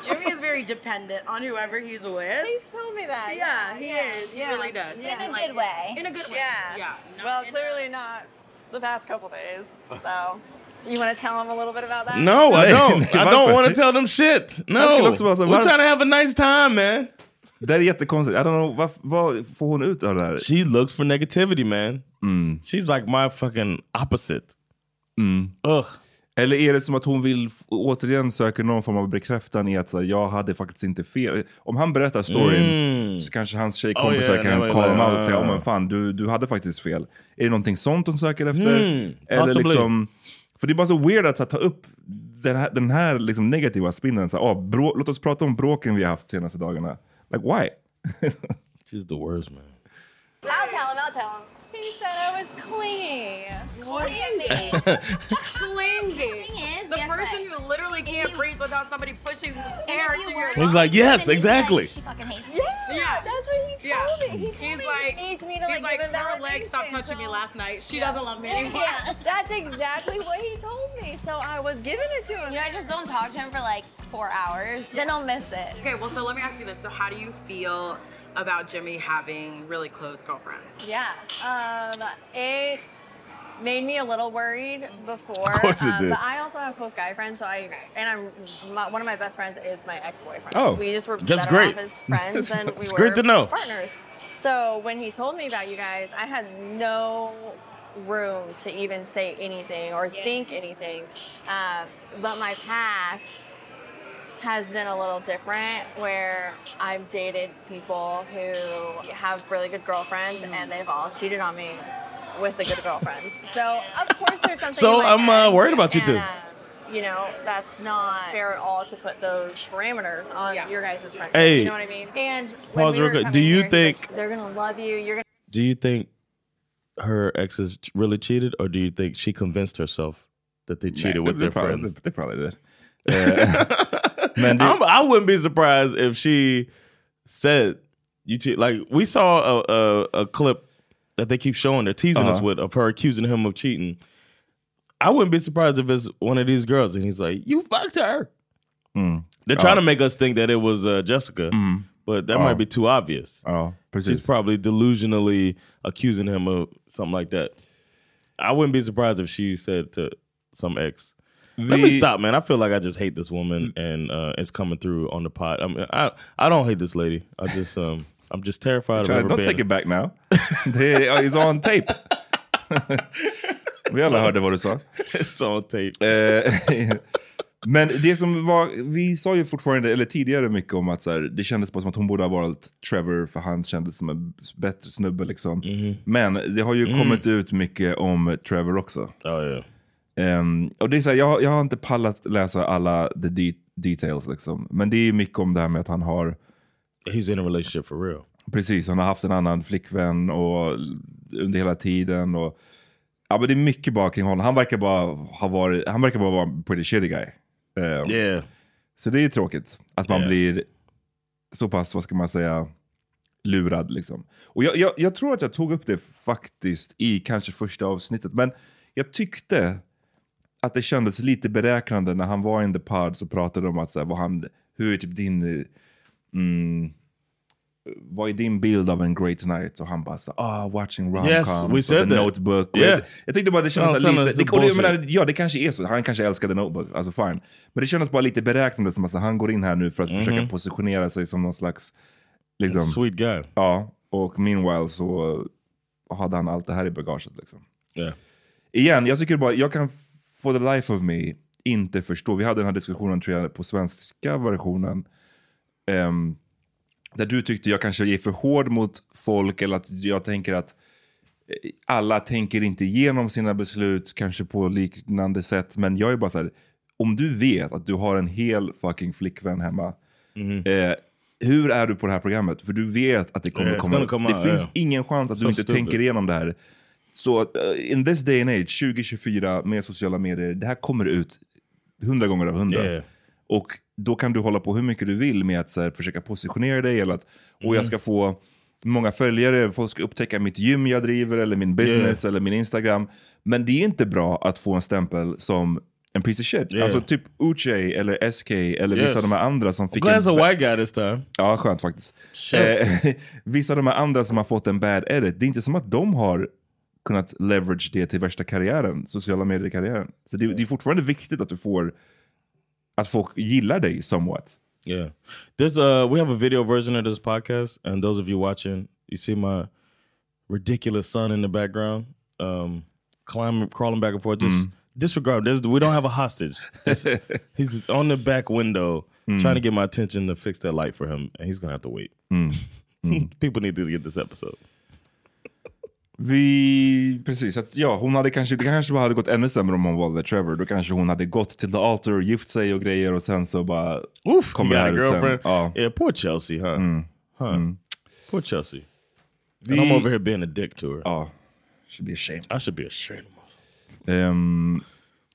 Jimmy is very dependent on whoever he's with. Please tell me that. Yeah, Yeah, he yeah, is. He yeah, really does. yeah. In a good way. In a good way. Yeah. Yeah. no, well, in a- clearly not the past couple days. So, you want to tell him a little bit about that? No, I don't. I don't want to Varför? tell them shit. No. Jag kan också bara så här, We're varför- trying to have a nice time, man. Det är jättekonstigt. I don't know, vad, vad får hon ut av det här? She looks for negativity, man. She's like my fucking opposite. mm. Eller är det som att hon vill f- återigen söker någon form av bekräftan i att så här, jag hade faktiskt inte fel. Om han berättar storyn Mm. så kanske hans Oh, tjejkompisar yeah, kan nej, call nej, him out nej, och säga nej. oh, men fan du, du hade faktiskt fel. Är det någonting sånt hon söker efter? Mm, Eller possibly. liksom, för det är bara så weird att så här, ta upp den här, den här liksom, negativa spinnen. Så, här, ah, brå- låt oss prata om bråken vi har haft de senaste dagarna. Like why? She's the worst man. I'll tell him. I'll tell him. He said I was clingy. Clingy. Clingy. the person who literally can't breathe without somebody pushing air to your He's like, yes, exactly. fucking hates yeah, Yeah. that's what he told Yeah. me. He told He's me like- he needs me to he's like, give like, him her legs stopped validation, touching me so- last night. She doesn't love me Yeah, anymore. Yeah, that's exactly what he told me. So I was giving it to him. You know, I just don't talk to him for like four hours. Then I'll miss it. Okay, well, so let me ask you this. So, how do you feel about Jimmy having really close girlfriends? Yeah. Um, it made me a little worried before. Of course it um, did. But I also have close guy friends, so I and I'm my, one of my best friends is my ex-boyfriend. Oh, we just were that's better great. off as friends than we It's were great to know. partners. So when he told me about you guys, I had no room to even say anything or think anything. Um, but my past has been a little different where I've dated people who have really good girlfriends and they've all cheated on me with the good girlfriends. So of course there's something. So like I'm that. uh, worried about you And, two. uh, you know, that's not fair at all to put those parameters on your guys' friendship. Hey. You know what I mean? And when Pause we were real quick. Do coming here, you he's like, think- they're gonna love you? You're gonna Do you think her exes really cheated, or do you think she convinced herself that they cheated Nej, with det their probably- friends? They probably did. I'm, I wouldn't be surprised if she said you cheat. Like we saw a, a, a clip that they keep showing, they're teasing us Uh-huh. with of her accusing him of cheating. I wouldn't be surprised if it's one of these girls, and he's like, "You fucked her." Mm. They're trying to make us think that it was uh, Jessica, Mhm. but that Ja. might be too obvious. Ja, She's probably delusionally accusing him of something like that. I wouldn't be surprised if she said to some ex, "Let me Vi- stop, man. I feel like I just hate this woman, Mm. and uh, it's coming through on the pot. I mean, I I don't hate this lady. I just um, I'm just terrified of Try- her. don't take it back now. Det är- it's on tape. Vi alla hörde vad du sa. It's on tape. Eh, Men det som var, vi sa ju fortfarande, eller tidigare mycket om att så här, det kändes bara som att hon borde ha valt Trevor för han kändes som en bättre snubbe liksom. Men det har ju Mm. kommit ut mycket om Trevor också. Ehm, och det är så här, jag, har- jag har inte pallat läsa alla the de- details liksom. Men det är ju mycket om det här med att han har... He's in a relationship for real. Precis, han har haft en annan flickvän och under hela tiden. Och, ja, men det är mycket bara kring honom. Han verkar bara, ha varit, han verkar bara vara en pretty shitty guy. Ehm, Yeah. Så det är tråkigt att man Yeah. blir så pass, vad ska man säga, lurad. Liksom. Och jag, jag, jag tror att jag tog upp det faktiskt i kanske första avsnittet. Men jag tyckte att det kändes lite beräknande när han var in the pod så pratade de om att så här, vad han, hur är typ din eh, mm, vad är din bild av en great night? Och han bara så, ah, watching rom-coms Yes, we said och the that. notebook. Och Yeah. jag, jag tyckte bara det Ja, kändes sen så här är det lite... Det, så och det, jag bullshit. menar, ja, det kanske är så. Han kanske älskade notebook, alltså fine. Men det kändes bara lite beräknande som att han går in här nu för att försöka Mhm. positionera sig som någon slags... Liksom, Sweet guy. Ja, och meanwhile så hade han allt det här i bagaget. Liksom. Yeah. Igen, jag tycker bara, jag kan for the life of me inte förstå. Vi hade den här diskussionen tror jag på svenska versionen. ehm, där du tyckte jag kanske är för hård mot folk eller att jag tänker att eh, alla tänker inte igenom sina beslut kanske på liknande sätt. Men jag är bara så här, om du vet att du har en hel fucking flickvän hemma. Eh, hur är du på det här programmet? För du vet att det kommer Yeah, att it's komma gonna upp. come Det out, finns yeah. ingen chans att So du inte stupid. tänker igenom det här. Så eh, in this day and age, 2024 med sociala medier, det här kommer ut hundra gånger av hundra. Yeah. Och då kan du hålla på hur mycket du vill med att så här, försöka positionera dig eller att och Mhm. jag ska få många följare, folk ska upptäcka mitt gym jag driver eller min business eller min Instagram. Men det är inte bra att få en stämpel som en piece of shit. Yeah. Alltså typ Uche eller SK eller vissa av de här andra som I'm fick glad en it's a white guy this time. Ja, skönt faktiskt. Shit. Eh, vissa av de här andra som har fått en bad edit, det är inte som att de har kunnat leverage det till värsta karriären, sociala medier-karriären. Så det, det är fortfarande viktigt att du får, att folk gillar dig somewhat. Yeah. There's uh we have a video version of this podcast, and those of you watching, you see my ridiculous son in the background, um, climbing, crawling back and forth. Just Mm-hmm. disregard. There's, we don't have a hostage. It's- he's on the back window Mm. trying to get my attention to fix that light for him, and he's gonna have to wait. Mm-hmm. People need to get this episode. Vi, precis, att, ja, hon hade kanske, det kanske bara hade gått ännu sämre om hon valde Trevor. Då kanske hon hade gått till the altar, gift sig och grejer och sen så bara Oof, kommer he det got här a ut sen. girlfriend. Ja. Yeah, poor Chelsea, huh? Huh. Poor Chelsea. And Mm-hmm. The- I'm over here being a dick to her. Oh, should be ashamed. I should be ashamed. Ehm,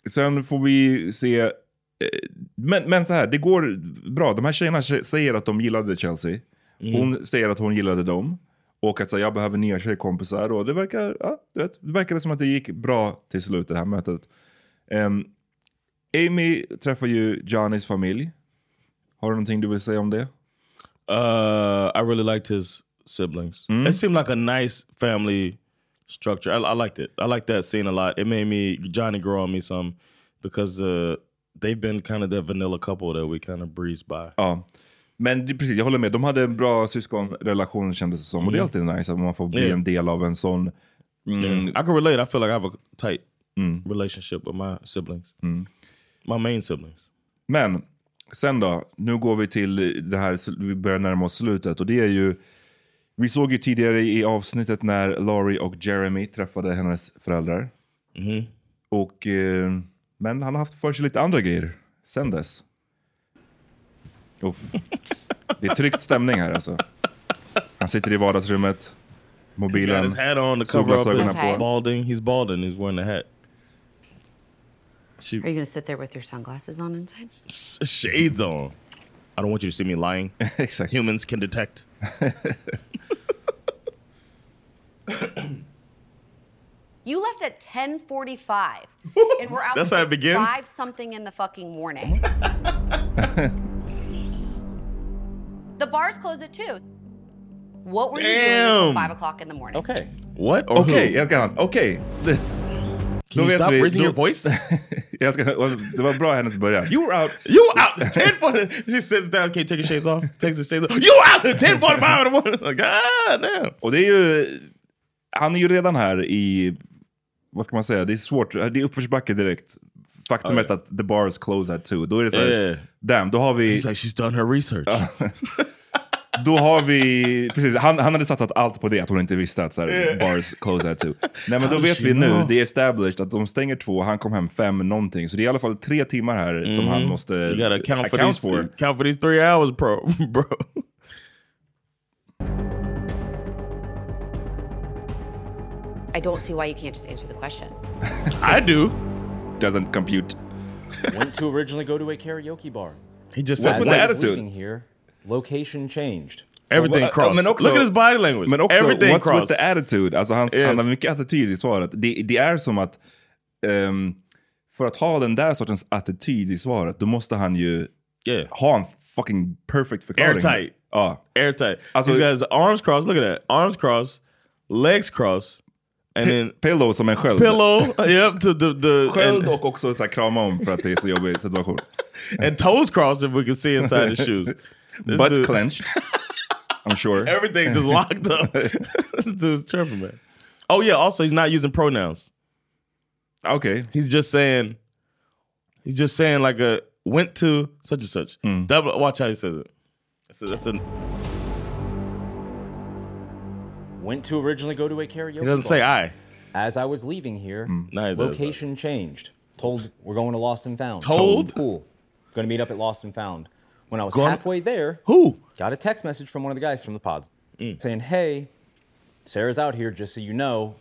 sen får vi se. eh, Men, men så här, det går bra. De här tjejerna tje- säger att de gillade Chelsea. Mm. Hon säger att hon gillade dem. Och att så här, jag behöver nya tjejkompisar. Och det verkar, ja, du vet, det verkade som att det gick bra till slut det här mötet. Ehm, Amy träffar ju Johnnys familj. Har du någonting du vill säga om det? Uh, I really liked his siblings. Mm-hmm. It seemed like a nice family structure. I, I liked it. I liked that scene a lot. It made me Johnny grow on me some because uh, they've been kind of that vanilla couple that we kind of breeze by. Ja. Oh. Men det, precis, jag håller med. De hade en bra syskonrelation kändes det som. Och det är alltid nice att man får bli Mm. Yeah. en del av en sån... Mm, I can relate. I feel like I have a tight relationship with my siblings, my main siblings. Men sen då, nu går vi till det här, vi börjar närma oss slutet och det är ju, vi såg ju tidigare i avsnittet när Laurie och Jeremy träffade hennes föräldrar. Mm-hmm. Och, eh, men han har haft för sig lite andra grejer sen dess. Uff. Det är tryckt stämning här alltså. Han sitter i vardagsrummet, He got mobilen, his hat on to cover up solglasögonen his på. balding. He's balding. He's wearing a hat. She, Are you gonna sit there with your sunglasses on inside? shades on. I don't want you to see me lying. exactly. Humans can detect. You left at 10:45, and we're out. That's how it till begins? Five something in the fucking morning. the bars close at two. What were you doing Damn. until five o'clock in the morning? Okay. What? Okej, jag älskar han. Okej. Okay. Can you stop raising your voice? jag ska, det var bra hennes början. You were out. You were out at 10 for She sits down, can't take her shades off. Takes her shades off. You were out at 10 for in the morning. It's Like, God damn. Och det är ju... Han är ju redan här i... Vad ska man säga? Det är svårt. Det är uppförsbacke direkt. Faktumet Ja, ja. att the bars close at two. Då är det så här, Ja, ja, ja. Damn, då har vi... He's like, she's done her research. då har vi... Precis, han, han hade satsat allt på det, att hon inte visste att så här, Ja. bars close at two. Nej men då How vet she vi nu, know? det är established att de stänger två, han kom hem fem någonting. Så det är i alla fall tre timmar här som Mhm. han måste You gotta account for, account these, Count for these three hours, bro. bro. I don't see why you can't just answer the question. I do. Doesn't compute. Went to originally go to a karaoke bar. He just As says I went. was leaving Here, location changed. Everything Well, uh, crossed. men också- Look at his body language. Men också, Everything what's crossed. with the attitude? Alltså han, Yes. han har mycket attityd i svaret. Det, det är som att ehm, för att ha den där sortens attityd i svaret, då måste han ju Yeah. ha en fucking perfect förklaring. Airtight. Oh. Airtight. He's got his arms crossed. Look at that. Arms crossed, legs crossed. And then pillow som en sköld. Pillow, yep. To the, the, Sköld and- och också så här krama om för att det är så jobbig situation. and toes crossed if we could see inside his shoes. This Butt dude- clenched. I'm sure. Everything just locked up. this dude's tripping, man. Oh yeah. Also, he's not using pronouns. Okay. He's just saying. He's just saying like a went to such and such. Double. Watch how he says it. That's a, that's a, Went to originally go to a karaoke. He doesn't say bar. I. As I was leaving here, No, he does, location changed. Told we're going to Lost and Found. Told? Cool. Gonna meet up at Lost and Found. When I was Going- halfway there, who Mm. got a text message from one of the guys from the pods saying, "Hey, Sarah's out here. Just so you know."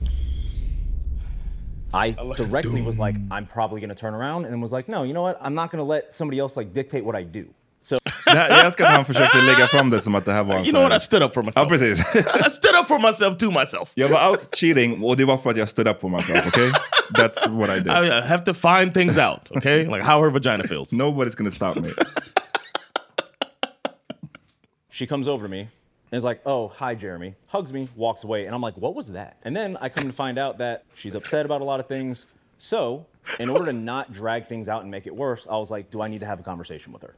I directly was like, "I'm probably gonna turn around," and was like, "No, you know what? I'm not gonna let somebody else like dictate what I do." So Det här, jag älskar att han försökte lägga fram det som att det här var en You sån know här- what? I stood up for Ja, precis. I stood up for myself to myself. Jag var out cheating och det var för att jag stood up for myself, okay? That's what I did. I I have to find things out. Okay, like how her vagina feels. Nobody's gonna stop me. She comes over to me and is like, "Oh, hi, Jeremy." Hugs me, walks away, and I'm like, "What was that?" And then I come to find out that she's upset about a lot of things. So, in order to not drag things out and make it worse, I was like, "Do I need to have a conversation with her?"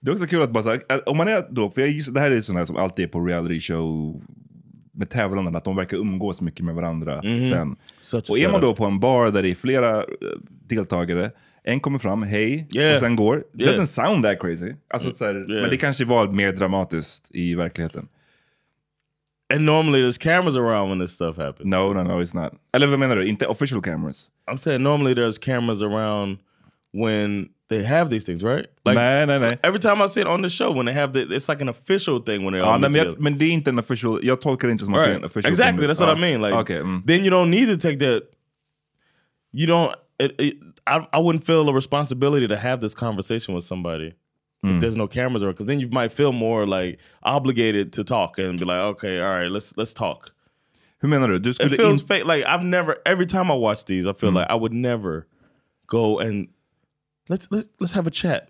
Det är också kul att bara så här, att om man är då, för jag gissar, det här är sådana här som alltid är på reality show med tävlanden, att de verkar umgås mycket med varandra Mhm. sen. Such a och är man då setup. på en bar där det är flera eh, deltagare, en kommer fram, hej, Yeah. och sen går. Yeah. Doesn't sound that crazy. Alltså, Mm. så här, Yeah. Men det kanske var mer dramatiskt i verkligheten. And normally there's cameras around when this stuff happens. No, no, no, it's not. Eller vad menar du? Inte official cameras? I'm saying normally there's cameras around when they have these things, right? nej, nej, nej. Every time I see it on the show, when they have the, it's like an official thing when they're Ja, on nej, the men, jag, men det är inte en official, jag tolkar det inte som att det är en official typ. Exactly, camera. that's what Ja. I mean. Like, Okej, mm. then you don't need to take that. You don't. It, it, I, I wouldn't feel a responsibility to have this conversation with somebody Mm. if there's no cameras around, because then you might feel more like obligated to talk and be like, okay, all right, let's let's talk. Hur menar du? Du It skulle feels in- fake. Like I've never. Every time I watch these, I feel Mm. like I would never go and let's let's let's have a chat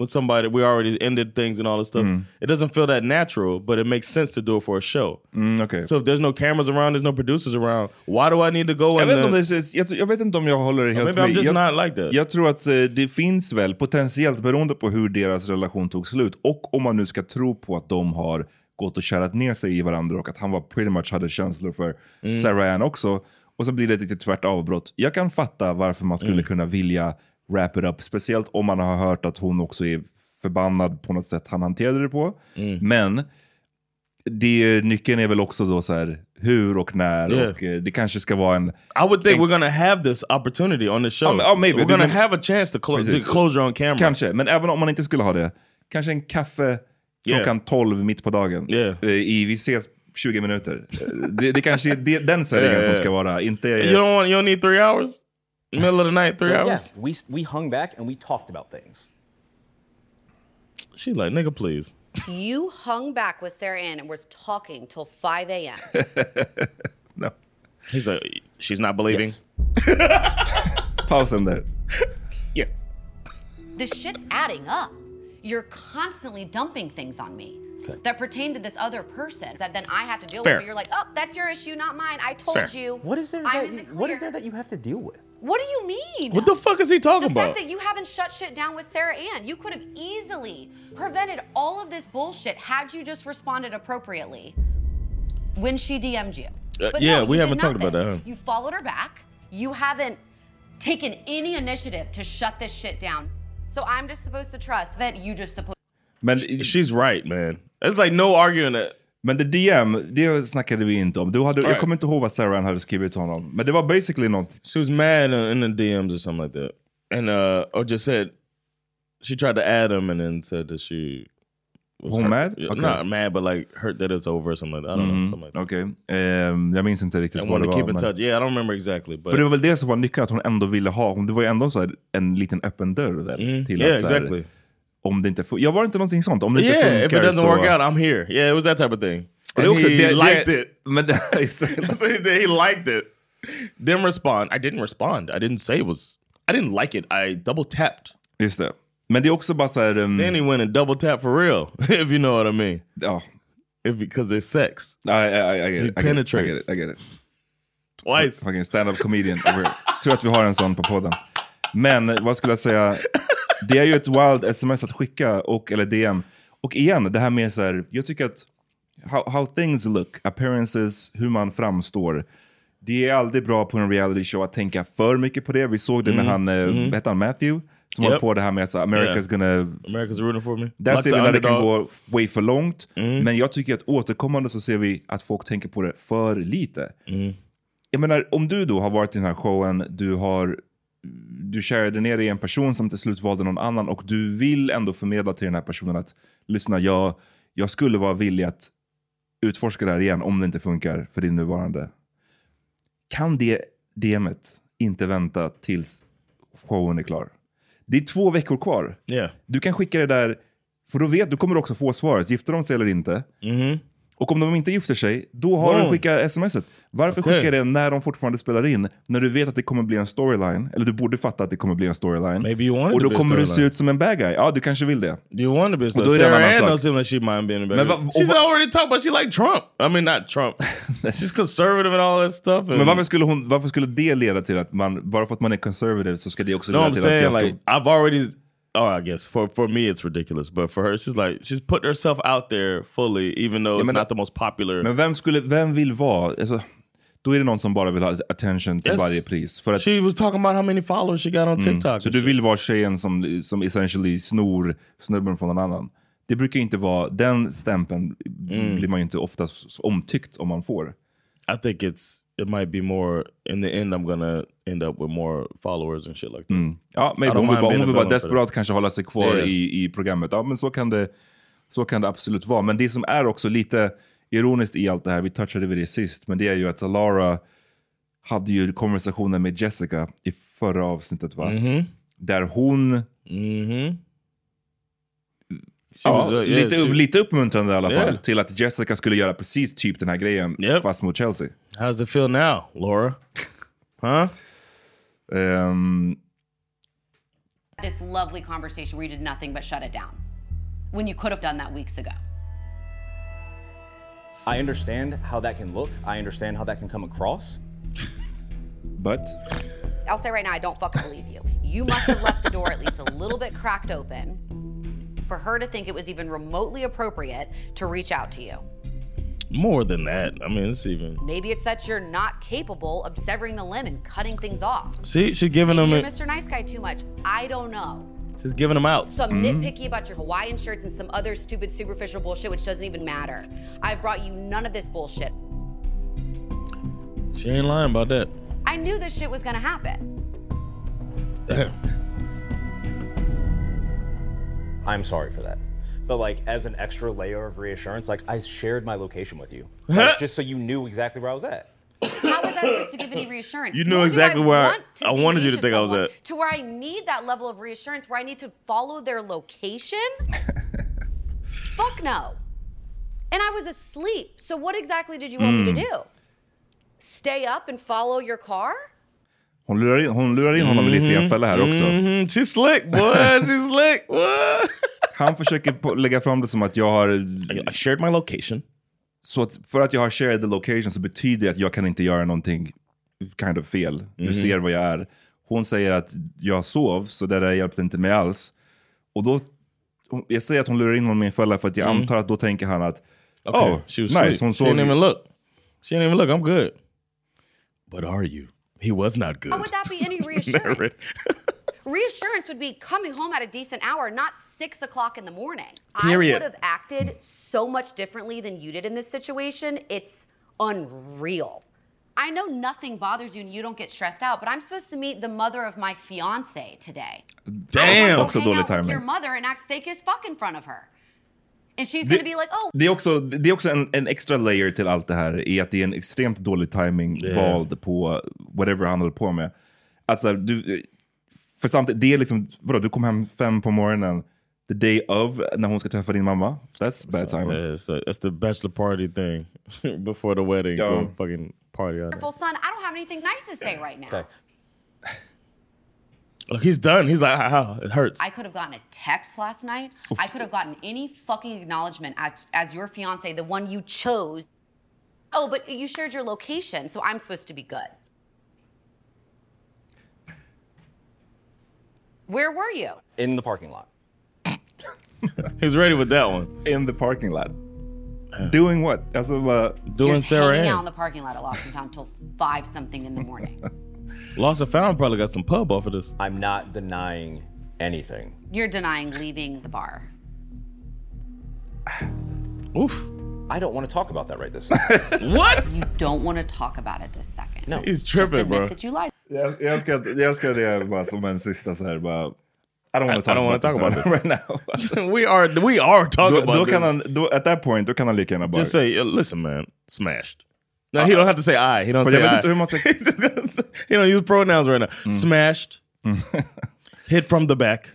with somebody. We already ended things and all this stuff. Mm. It doesn't feel that natural, but it makes sense to do it for a show. Mm, okay. So if there's no cameras around, there's no producers around. Why do I need to go Jag and? vet, inte om then- det är, jag, jag vet inte om jag håller det helt maybe I'm med. just jag, not like that. jag tror att eh, det finns väl potentiellt, beroende på hur deras relation tog slut och om man nu ska tro på att de har gått och kärat ner sig i varandra och att han var pretty much hade känslor för Mm. Sarah Ann också. Och så blir det ett litet tvärt avbrott. Jag kan fatta varför man skulle Mm. kunna vilja wrap it up, speciellt om man har hört att hon också är förbannad på något sätt han hanterade det på. Mm. Men det, nyckeln är väl också då så här hur och när Yeah. och eh, det kanske ska vara en I would think we're gonna have this opportunity on the show. Ja, men- ja, maybe. We're gonna Du- have a chance to close Precis. closure on camera. Kanske, men även om man inte skulle ha det. Kanske en kaffe Yeah. klockan 12 mitt på dagen. Eh, I, vi ses 20 minuter. Eh, det, det kanske är det, den serveringen Yeah, yeah. som ska vara. Inte... You don't want. You don't need three hours. Middle of the night, three so, hours. Yeah, we we hung back and we talked about things. She like nigga, please. You hung back with Sarah Ann and was talking till 5 a.m. He's like, she's not believing. Pausen där. The shit's adding up. You're constantly dumping things on me that pertain to this other person that then I have to deal Fair. with. But you're like, oh, that's your issue, not mine. I told you. What is there? I'm That in the you, what is there that you have to deal with? What do you mean? What the fuck is he talking The about? fact that you haven't shut shit down with Sarah Ann, you could have easily prevented all of this bullshit had you just responded appropriately when she DM'd you. Uh, But yeah, no, we you haven't did talked about nothing. that, huh? You followed her back. You haven't taken any initiative to shut this shit down. So I'm just supposed to trust that you just supposed. Men, she's right man. It's like no arguing that. Men det DM, det snackade vi inte om. Du hade, Jag Alright. kommer inte ihåg vad Sarah Ann hade skrivit till honom. Men det var basically något. She was mad in the DMs or something like that, and uh, or just said she tried to add him, and then said that she was Hon hurt. mad? Yeah, Okay. Not mad, but like hurt that it's over or something like that. I don't know. Mm, Something like Okej. Ehm, jag minns inte that. riktigt And vad det want to var. keep in men- touch. Yeah, I don't remember exactly, but För det var väl det som var nyckeln, att hon ändå ville ha, hon, det var ju ändå så här, en liten öppen dörr där. Till Mm. Yeah, att, så här, exactly. Om det inte funkar, jag var det inte någonting sånt? Om det inte yeah, if it funkar doesn't så... work out, I'm here. Yeah, it was that type of thing. Och det And är också- he det- det- liked it. Men, so he, he liked it. Didn't respond. I didn't respond. I didn't say it was. I didn't like it. I double tapped. Just det. Men det är också bara så här... Um, Then he went and double tap for real, if you know what I mean. Oh. because there's sex. I, I, I get it. I He get it. I get penetrates. it. I get it. Twice. Fucking stand-up comedian. over- Tur att vi har en sån på podden. Men eh, vad skulle jag säga? Det är ju ett wild sms att skicka, och, eller DM. Och igen, det här med så här, jag tycker att how, how things look, appearances, hur man framstår. Det är aldrig bra på en reality show att tänka för mycket på det. Vi såg det med Mm, han, mm. mhm. vad hette han, Matthew? Som Yep. höll på det här med att så, America's Yeah. gonna America's rooting for me. Där Like ser the vi när det kan underdog. gå way för långt. Men jag tycker att återkommande så ser vi att folk tänker på det för lite. Jag menar, om du då har varit i den här showen, du har du kärade ner dig i en person som till slut valde någon annan och du vill ändå förmedla till den här personen att lyssna, jag, jag skulle vara villig att utforska det här igen om det inte funkar för din nuvarande. Kan det DMet inte vänta tills showen är klar? Det är två veckor kvar. Yeah. Du kan skicka det där, för då vet du kommer du också få svaret. Gifter de sig eller inte? Mhm. Och om de inte gifter sig, då har Boom. du skickat smset. Varför Okej. skicka det när de fortfarande spelar in? När du vet att det kommer bli en storyline, eller du borde fatta att det kommer bli en storyline. want it och to då be a kommer du se storyline. ut som en bad guy. Ja, du kanske vill det. You want to be a Och då är det en Sarah annan Ann sak. don't seem like she mind being a Men baby. vad- She's already talked about she like Trump. I mean, not Trump. She's conservative and all that stuff. and- Men varför skulle, hon, varför skulle det leda till att man, bara för att man är conservative så ska det också No, leda I'm till att saying jag ska... like I've already. Oh, I guess for for me it's ridiculous, but for her she's like she's put herself out there fully, even though Ja, it's men- not the most popular. Men vem, skulle, vem vill vara... Alltså, då är det någon som bara vill ha attention till Yes. varje pris. För att, she was talking about how many followers she got on Mm. TikTok. Så du vill vara tjejen som, som essentially snor snubben från någon annan. Det brukar ju inte vara, den stämpeln Mm. blir man ju inte oftast omtyckt om man får. I think it's it might be more in the end. I'm gonna end up with more followers and shit like that. Mm. Ja, maybe. I don't Hon vill mind bara, hon being a vill bara villain for desperat that. kanske hålla sig kvar Yeah. i, i programmet. Ja, men så kan, det, så kan det absolut vara. Men det som är också lite ironiskt i allt det här, vi touchade vid det sist, men det är ju att Lara hade ju konversationer med Jessica i förra avsnittet, va? Mhm. Där hon... She Ja, was, uh, yeah, lite, she- lite uppmuntrande i alla fall Yeah. till att Jessica skulle göra precis typ den här grejen fast mot Chelsea. How's it feel now, Laura? Huh? Um, This lovely conversation where you did nothing but shut it down when you could have done that weeks ago. I understand how that can look. I understand how that can come across. but I'll say right now, I don't fucking believe you. You must have left the door at least a little bit cracked open for her to think it was even remotely appropriate to reach out to you. More than that. I mean, it's even. Maybe it's that you're not capable of severing the limb and cutting things off. See, she's giving Maybe them. you're Mr. a- Nice Guy too much. I don't know. She's giving them outs. Mm-hmm. So I'm Mm-hmm. nitpicky about your Hawaiian shirts and some other stupid superficial bullshit, which doesn't even matter. I've brought you none of this bullshit. She ain't lying about that. I knew this shit was gonna happen. I'm sorry for that. But like as an extra layer of reassurance, like I shared my location with you. Like, just so you knew exactly where I was at. How was I supposed to give any reassurance? You knew Nor did exactly where I- I be wanted you to nice think I was someone at. To where I need that level of reassurance, where I need to follow their location? Fuck no. And I was asleep. So what exactly did you want Hmm. me to Mm. do? Stay up and follow your car? hon lurar in, hon lurar in honom lite i en fälla här också. Mhm, Mm-hmm. She's slick, boy. She's slick. What? Han försöker på- lägga fram det som att jag har... I shared my location. Så att för att jag har shared the location så betyder det att jag kan inte göra någonting kind of fel. Mhm. Du ser vad jag är. Hon säger att jag sov, så det där hjälpte inte mig alls. Och då... hon- Jag säger att hon lurar in honom i en fälla för att jag Mm. antar att då tänker han att... Okay, Oh, she was nice. sweet. Hon she såg... didn't even look. She didn't even look. I'm good. But are you? He was not good. How would that be any Oh, reassurance? Never. Reassurance would be coming home at a decent hour, not six o'clock in the morning. I Period. would have acted so much differently than you did in this situation. It's unreal. I know nothing bothers you and you don't get stressed out, but I'm supposed to meet the mother of my fiance today. Damn! Go Också hang dålig out with your timing. mother and act fake as fuck in front of her. And she's The- gonna be like, oh, Det är också, det är också en, en extra layer till allt det här är att det är en extremt dålig timing Yeah. vald på whatever han håller på med. Alltså, du, för samtidigt, det är liksom, vadå, du kom hem fem på morgonen, the day of, när hon ska träffa din mamma. That's bad So, timing. yeah, it's, the- it's the bachelor party thing before the wedding. Yo. Go fucking party. out. wonderful son, I don't have anything nice to say right now. Okay. Look, he's done. He's like, how it hurts. I could have gotten a text last night. I could have gotten any fucking acknowledgement as, as your fiance, the one you chose. Oh, but you shared your location, so I'm supposed to be good. Where were you? in the parking lot. he was eh, ready with that one. Eh. In the parking lot. Doing what? Alltså bara... Doing Just hanging out in the parking lot at Lost and Found till five something in the morning. Lost and found probably got some pub off of this. I'm not denying anything. You're denying leaving the bar. Oof. I don't want to talk about that right this second. what? You don't want to talk about it this second. No. He's Just admit that you lied. Jag, jag, älskar, jag älskar det bara som en sista så här bara... I don't I- I don't wanna want to talk about this. right now. we are we are talking då, about då this. Kan han, då, at that point, då kan han lika gärna bara... Just say, "Uh, listen man, smashed. No, he don't have to say I. He don't För jag say vet I. inte hur man ska... he don't use pronouns right now. Mm. Smashed. Hit from the back.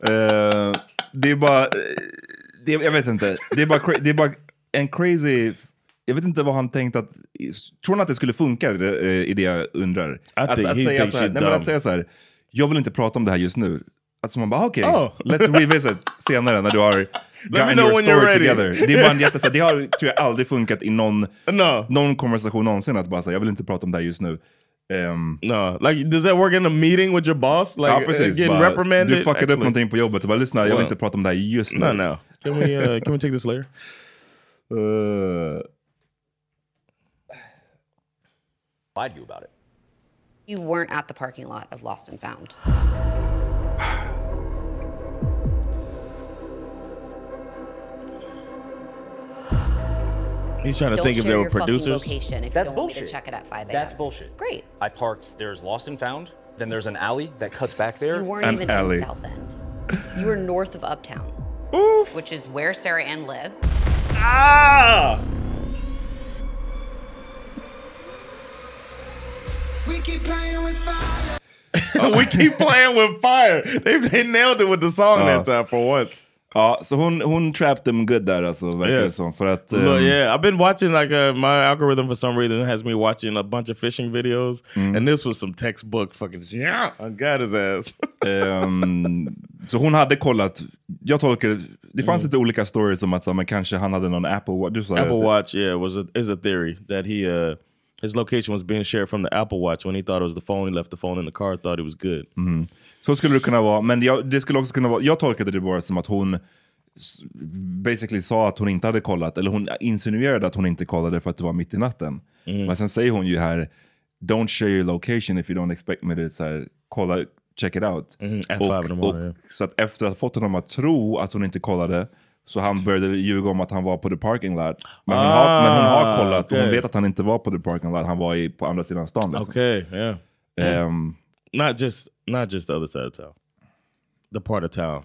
Eh, det är bara... eh, Det, jag vet inte. Det är, bara, cra- det är bara en crazy... Jag vet inte vad han tänkt att... Tror han att det skulle funka i det, eh, i det jag undrar? Att, think att, he säga thinks så här, he's nej, men dumb. att säga så här, jag vill inte prata om det här just nu. Alltså man bara, okej, Oh. let's revisit senare när du har me gotten know your when you're story ready. together. Det är bara en jätte, så här, det har tror jag aldrig funkat i någon, någon konversation någonsin att bara säga, jag vill inte prata om det här just nu. Um, no, like does that work in a meeting with your boss? Like uh, getting bara, reprimanded? Du fuckade Actually- upp någonting på jobbet. Bara, lyssna, jag vill Well. inte prata om det här just nu. No, no. Can we uh, can we take this later? Uh, Lied to you about it. You weren't at the parking lot of Lost and Found. He's trying to Don't think if share they were your fucking producers. Location if That's you don't want me bullshit. to check it at 5 a.m. That's bullshit. Great. I parked, there's Lost and Found, then there's an alley that cuts back there. You weren't even in South End. You were north of Uptown, which is where Sarah Ann lives. Ah! We keep playing with fire. Oh, we keep playing with fire. They, they nailed it with the song that time for once. Ja, så hon, hon trapped them good där alltså, verkar det Yes. som. För att... Look, ehm, yeah, I've been watching like uh, my algorithm for some reason has me watching a bunch of fishing videos, and this was some textbook fucking yeah, I got his ass. Ehm, så hon hade kollat. Jag tolkar det. Det fanns lite olika stories om att så, här, men kanske han hade någon Apple Watch. Du sa Mm. Apple det. Watch, yeah, was a, is a theory that he uh his location was being shared from the Apple Watch when he thought it was the phone. He left the phone in the car, thought it was good. Mm. Så skulle det kunna vara. Men jag, det skulle också kunna vara. Jag tolkade det bara som att hon s- basically sa att hon inte hade kollat. Eller hon insinuerade att hon inte kollade för att det var mitt i natten. Mm. Men sen säger hon ju här, don't share your location if you don't expect me to så här, kolla, check it out. at Och- five in the morning, och- Så att efter att fått honom att tro att hon inte kollade så han började ljuga om att han var på the parking lot. Men, hon, har, men hon har Ah, kollat och hon okej. vet att han inte var på the parking lot. Han var i, på andra sidan stan. Liksom. Okay, yeah. Ehm, not just not just the other side of town, the part of town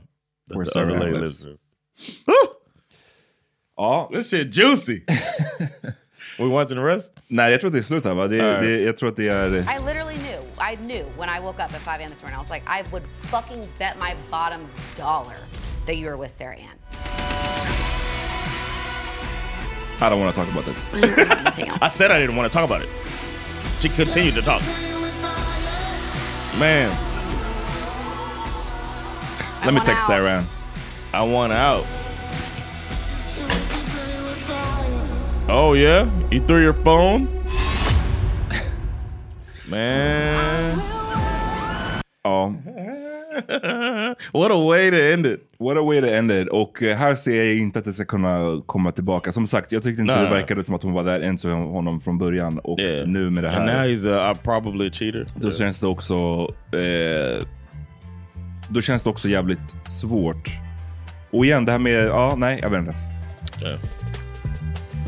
that Where the Sarah other lady lives. lives. in. Ja. This shit juicy. We watching the rest? Nej, jag tror att det är slut här va? Det, All right. det, jag tror att det är... I literally knew. I knew when I woke up at 5 a.m. this morning. I was like, I would fucking bet my bottom dollar that you were with Sarah Ann. I don't want to talk about this. I said I didn't want to talk about it. She continued to talk. Man. Let me text Sarah Ann. I want out. Oh, yeah? You threw your phone? Man. Ja. What a way to end it. What a way to end it. Och eh, här ser jag inte att det ska kunna komma tillbaka. Som sagt, jag tyckte inte Nej, det nej. verkade som att hon var där ens med honom från början. Och nu med det And now här. he's a, I'm probably a cheater. Då känns det också... Eh, då känns det också jävligt svårt. Och igen, det här med... Ja, nej, jag vet inte.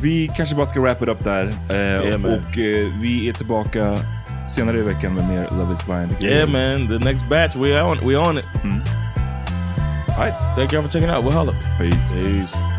Vi kanske bara ska wrap it up där. Eh, Yeah, man. och eh, vi är tillbaka senare i veckan med mer Love is blind. Yeah, man. The next batch, we on, we on it. All right. Thank y'all for checking out. We'll holla. Peace. Peace.